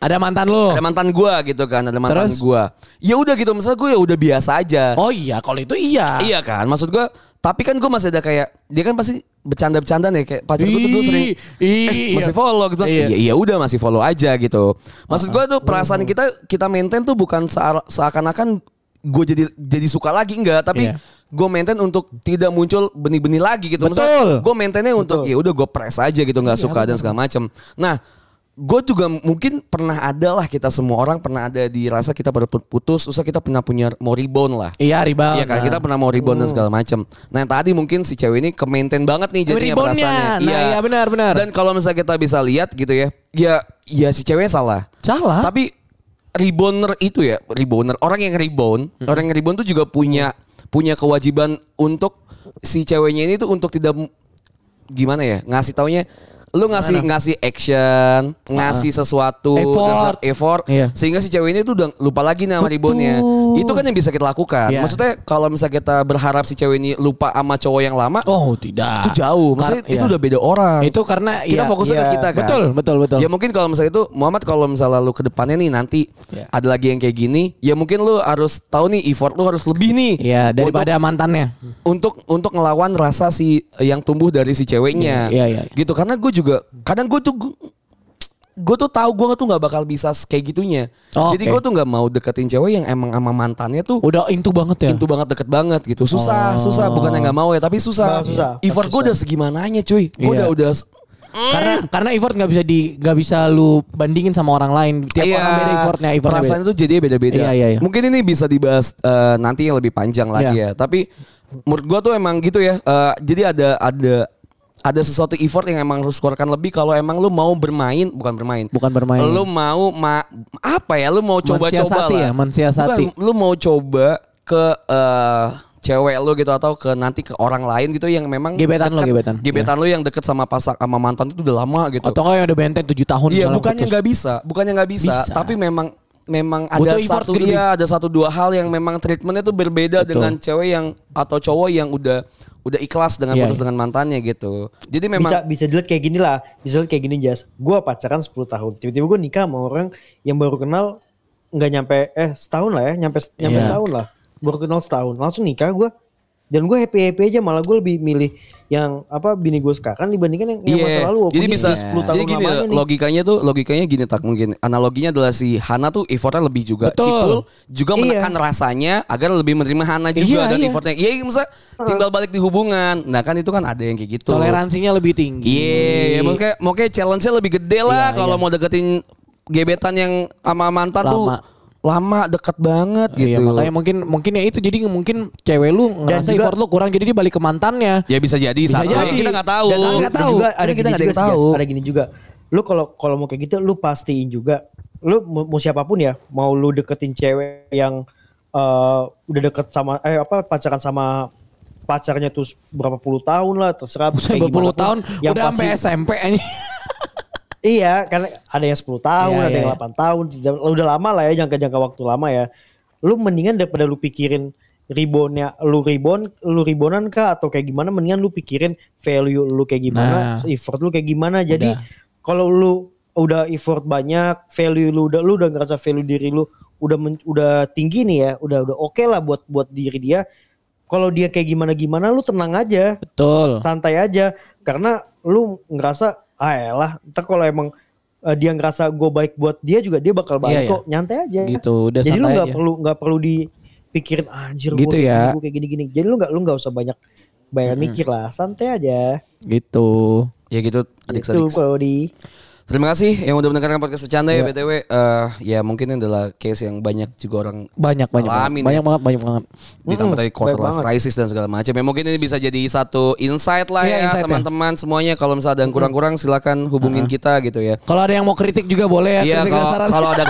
B: Ada mantan lu.
D: ada mantan gue gitu kan ada
B: Oh.
D: mantan
B: Terus?
D: gue ya udah gitu misalnya gue ya udah biasa aja
B: Oh iya, kalau itu iya.
D: Iya kan, maksud gua. Tapi kan gua masih ada kayak dia kan pasti bercanda-bercanda nih kayak pacar gua tuh dulu
B: Ih,
D: sering
B: iya.
D: masih follow gitu.
B: Iya.
D: Iya, iya udah masih follow aja gitu. Maksud gua tuh perasaan kita kita maintain tuh bukan sea- seakan-akan gue jadi jadi suka lagi enggak, tapi
B: Iya.
D: gue maintain untuk tidak muncul benih-benih lagi gitu.
B: Betul. Iya,
D: Gue maintainnya untuk ya udah gue press aja gitu nggak suka dan segala macem. Nah, gue juga mungkin pernah ada lah kita semua orang pernah ada di rasa kita baru putus, usah kita pernah punya mau rebound lah.
B: Iya, rebound.
D: Iya kan kita pernah mau rebound dan segala macam. Nah yang tadi mungkin si cewek ini ke maintain banget nih jadinya
B: Reboundnya.
D: perasaannya.
B: Nah, iya, benar, benar.
D: Dan kalau misalnya kita bisa lihat gitu ya, ya ya si cewek salah.
B: Salah.
D: Tapi rebounder itu ya, rebounder orang yang rebound,
B: Hmm.
D: orang yang rebound tuh juga punya punya kewajiban untuk si ceweknya ini tuh untuk tidak gimana ya ngasih taunya lu ngasih ngasih action, ngasih sesuatu,
B: Ah. Effort.
D: ngasih effort
B: Iya.
D: sehingga si cewek ini tuh udah lupa lagi nih sama reboundnya. Itu kan yang bisa kita lakukan.
B: Iya.
D: Maksudnya kalau misalnya kita berharap si cewek ini lupa sama cowok yang lama,
B: Oh tidak.
D: itu jauh. Maksudnya
B: Kar-
D: itu
B: iya.
D: udah beda orang.
B: Itu karena
D: kita
B: iya,
D: fokusnya
B: iya.
D: ke kita kan.
B: Betul, betul, betul.
D: Ya mungkin kalau misalnya itu Muhammad kalau misalnya lu ke depannya nih nanti
B: Iya.
D: ada lagi yang kayak gini, ya mungkin lu harus tahu nih effort lu harus lebih nih.
B: Iya, daripada mantannya.
D: untuk untuk ngelawan rasa si yang tumbuh dari si ceweknya.
B: Iya, iya, iya.
D: Gitu karena gue juga kadang gue tuh gue tuh tahu gue tuh nggak bakal bisa kayak gitunya.
B: Oh,
D: Jadi
B: oke.
D: gue tuh nggak mau deketin cewek yang emang sama mantannya tuh
B: Udah Oh. intu banget ya.
D: itu banget deket banget gitu. Susah, susah bukannya nggak mau ya, tapi
C: Nah,
D: susah.
C: susah.
D: Effort gue udah segimananya, cuy. Gue
B: Iya.
D: udah udah
B: Karena karena effort nggak bisa di nggak bisa lu bandingin sama orang lain. Tiap orang
D: Iya,
B: beda effortnya, effortnya
D: perasaan
B: beda.
D: itu jadi beda-beda.
B: Iya, iya, iya.
D: Mungkin ini bisa dibahas eh, nanti yang lebih panjang lagi
B: Iya.
D: ya. Tapi menurut gua tuh emang gitu ya. eh, jadi ada ada ada sesuatu effort yang emang harus keluarkan lebih kalau emang lu mau bermain, bukan bermain.
B: Bukan bermain.
D: Lu mau ma- apa ya? Lu mau coba-coba
B: Mensiasati ya,
D: lah.
B: mensiasati.
D: Bukan, lu mau coba ke eh, cewek lu gitu atau ke nanti ke orang lain gitu yang memang
B: Gebetan lu,
D: deket-
B: gebetan. Iya.
D: Gebetan lu yang deket sama pasak sama mantan itu udah lama gitu.
B: Atau nggak yang udah benteng 7 tahun
D: Iya,
B: misalnya
D: bukannya
B: putus.
D: nggak bisa, bukannya nggak bisa,
B: Bisa.
D: tapi memang memang ada
B: Butuh effort
D: satu
B: lebih.
D: iya, ada satu dua hal yang memang treatmentnya tuh
B: Betul.
D: berbeda dengan cewek yang atau cowok yang udah udah ikhlas dengan
B: Iya,
D: putus
B: iya.
D: dengan mantannya gitu. Jadi memang
C: bisa bisa dilihat kayak gini lah bisa dilihat kayak gini Jas gue pacaran 10 tahun tiba-tiba gue nikah sama orang yang baru kenal nggak nyampe eh setahun lah ya nyampe nyampe
B: Iya.
C: setahun lah baru kenal setahun langsung nikah gue dan gue happy happy aja malah gue lebih milih yang apa bini gue sekarang dibandingkan yang, yang
D: Iya.
C: masa lalu walaupun
D: Jadi
C: ini
D: bisa
C: 10 tahun
D: jadi gini
C: lamanya nih.
D: logikanya tuh logikanya gini tak mungkin. Analoginya adalah si Hana tuh effortnya lebih juga.
B: Betul.
D: Cipul juga
C: Iya.
D: menekan rasanya agar lebih menerima Hana juga
B: Iya,
D: dan
B: iya.
D: effortnya. Iya, misalnya timbal balik di hubungan. Nah, kan itu kan ada yang kayak gitu.
B: Toleransinya lebih tinggi.
D: Iya, mau kayak mau kayak challenge-nya lebih gede lah
B: Iya,
D: kalau mau deketin gebetan yang sama mantan tuh
B: Lama.
D: lama deket banget
B: Iya
D: gitu.
B: makanya mungkin mungkin ya itu jadi mungkin cewek lu
C: Dan
B: ngerasa
C: juga-
B: effort lu kurang jadi dia balik ke mantannya.
D: Ya bisa jadi
B: Bisa
D: satu.
B: jadi.
D: Kita nggak tahu.
B: Dan kita nggak
C: Dan
B: tahu.
C: juga
D: Karena
C: ada
D: kita
C: gini
D: nggak ada
C: juga
D: yang
C: sih,
D: tahu.
C: Jas. ada gini juga. Lu kalau kalau mau kayak gitu lu pastiin juga lu mau mau siapapun ya, mau lu deketin cewek yang eh, udah deket sama eh apa pacaran sama pacarnya tuh berapa puluh tahun lah terserah
B: Usai
C: kayak gimana
B: berpuluh
C: pun,
B: tahun
C: yang
B: udah sampai
C: pasti-
B: SMP aja.
C: Iya, karena ada yang 10 tahun,
B: Iya,
C: ada yang
B: iya.
C: 8 tahun, Dan udah lama lah ya jangka-jangka waktu lama ya. Lu mendingan daripada lu pikirin reboundnya, lu rebound, lu reboundan kah atau kayak gimana, mendingan lu pikirin value lu kayak
B: Nah.
C: gimana, effort lu kayak gimana. Jadi
B: Udah.
C: kalau lu udah effort banyak, value lu udah lu udah ngerasa value diri lu udah men- udah tinggi nih ya, udah udah oke lah buat buat diri dia. Kalau dia kayak gimana-gimana lu tenang aja
B: Betul.
C: santai aja karena lu ngerasa ah elah ntar kalau emang eh, dia ngerasa gue baik buat dia juga dia bakal
B: Iya,
C: baik
B: iya.
C: kok nyantai aja
B: Gitu, udah
C: jadi lu
B: santai
C: nggak
B: aja.
C: perlu nggak perlu dipikirin "Ah, anjir gua
B: Gitu
C: kayak
B: ya.
C: gini, gua kayak gini gini jadi lu nggak lu nggak usah banyak banyak mikir lah santai aja
B: Gitu.
D: Ya gitu
C: itu
D: adik-adik.
C: kalau di
D: Terima kasih yang udah mendengarkan podcast bercanda
B: Iya.
D: ya BTW. Eh, ya mungkin ini adalah case yang banyak juga orang
B: Banyak banyak.
D: Alamin
B: banyak banget banyak banget.
D: ditambah tadi quarter
C: baik
D: life crisis dan segala macam. Ya mungkin ini bisa jadi satu insight lah
B: Iya,
D: ya
B: insight ya.
D: teman-teman semuanya kalau misalnya ada yang kurang-kurang silakan
B: Uh-uh.
D: hubungin kita gitu ya.
B: Kalau ada yang mau kritik juga boleh ya.
D: Iya
B: kritik dan
D: kalau
B: saran.
D: kalau ada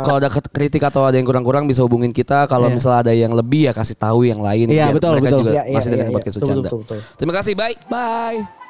D: kalau ada ket- kritik atau ada yang kurang-kurang bisa hubungin kita. Kalau misalnya ada yang lebih ya kasih tahu yang lain.
B: Iya,
D: biar
B: betul,
D: mereka
B: betul.
D: juga
C: Iya, iya,
D: masih
C: iya,
D: dengerin
C: iya.
D: podcast
C: Betul,
D: bercanda.
C: betul, betul.
D: Terima kasih. Bye.
B: Bye.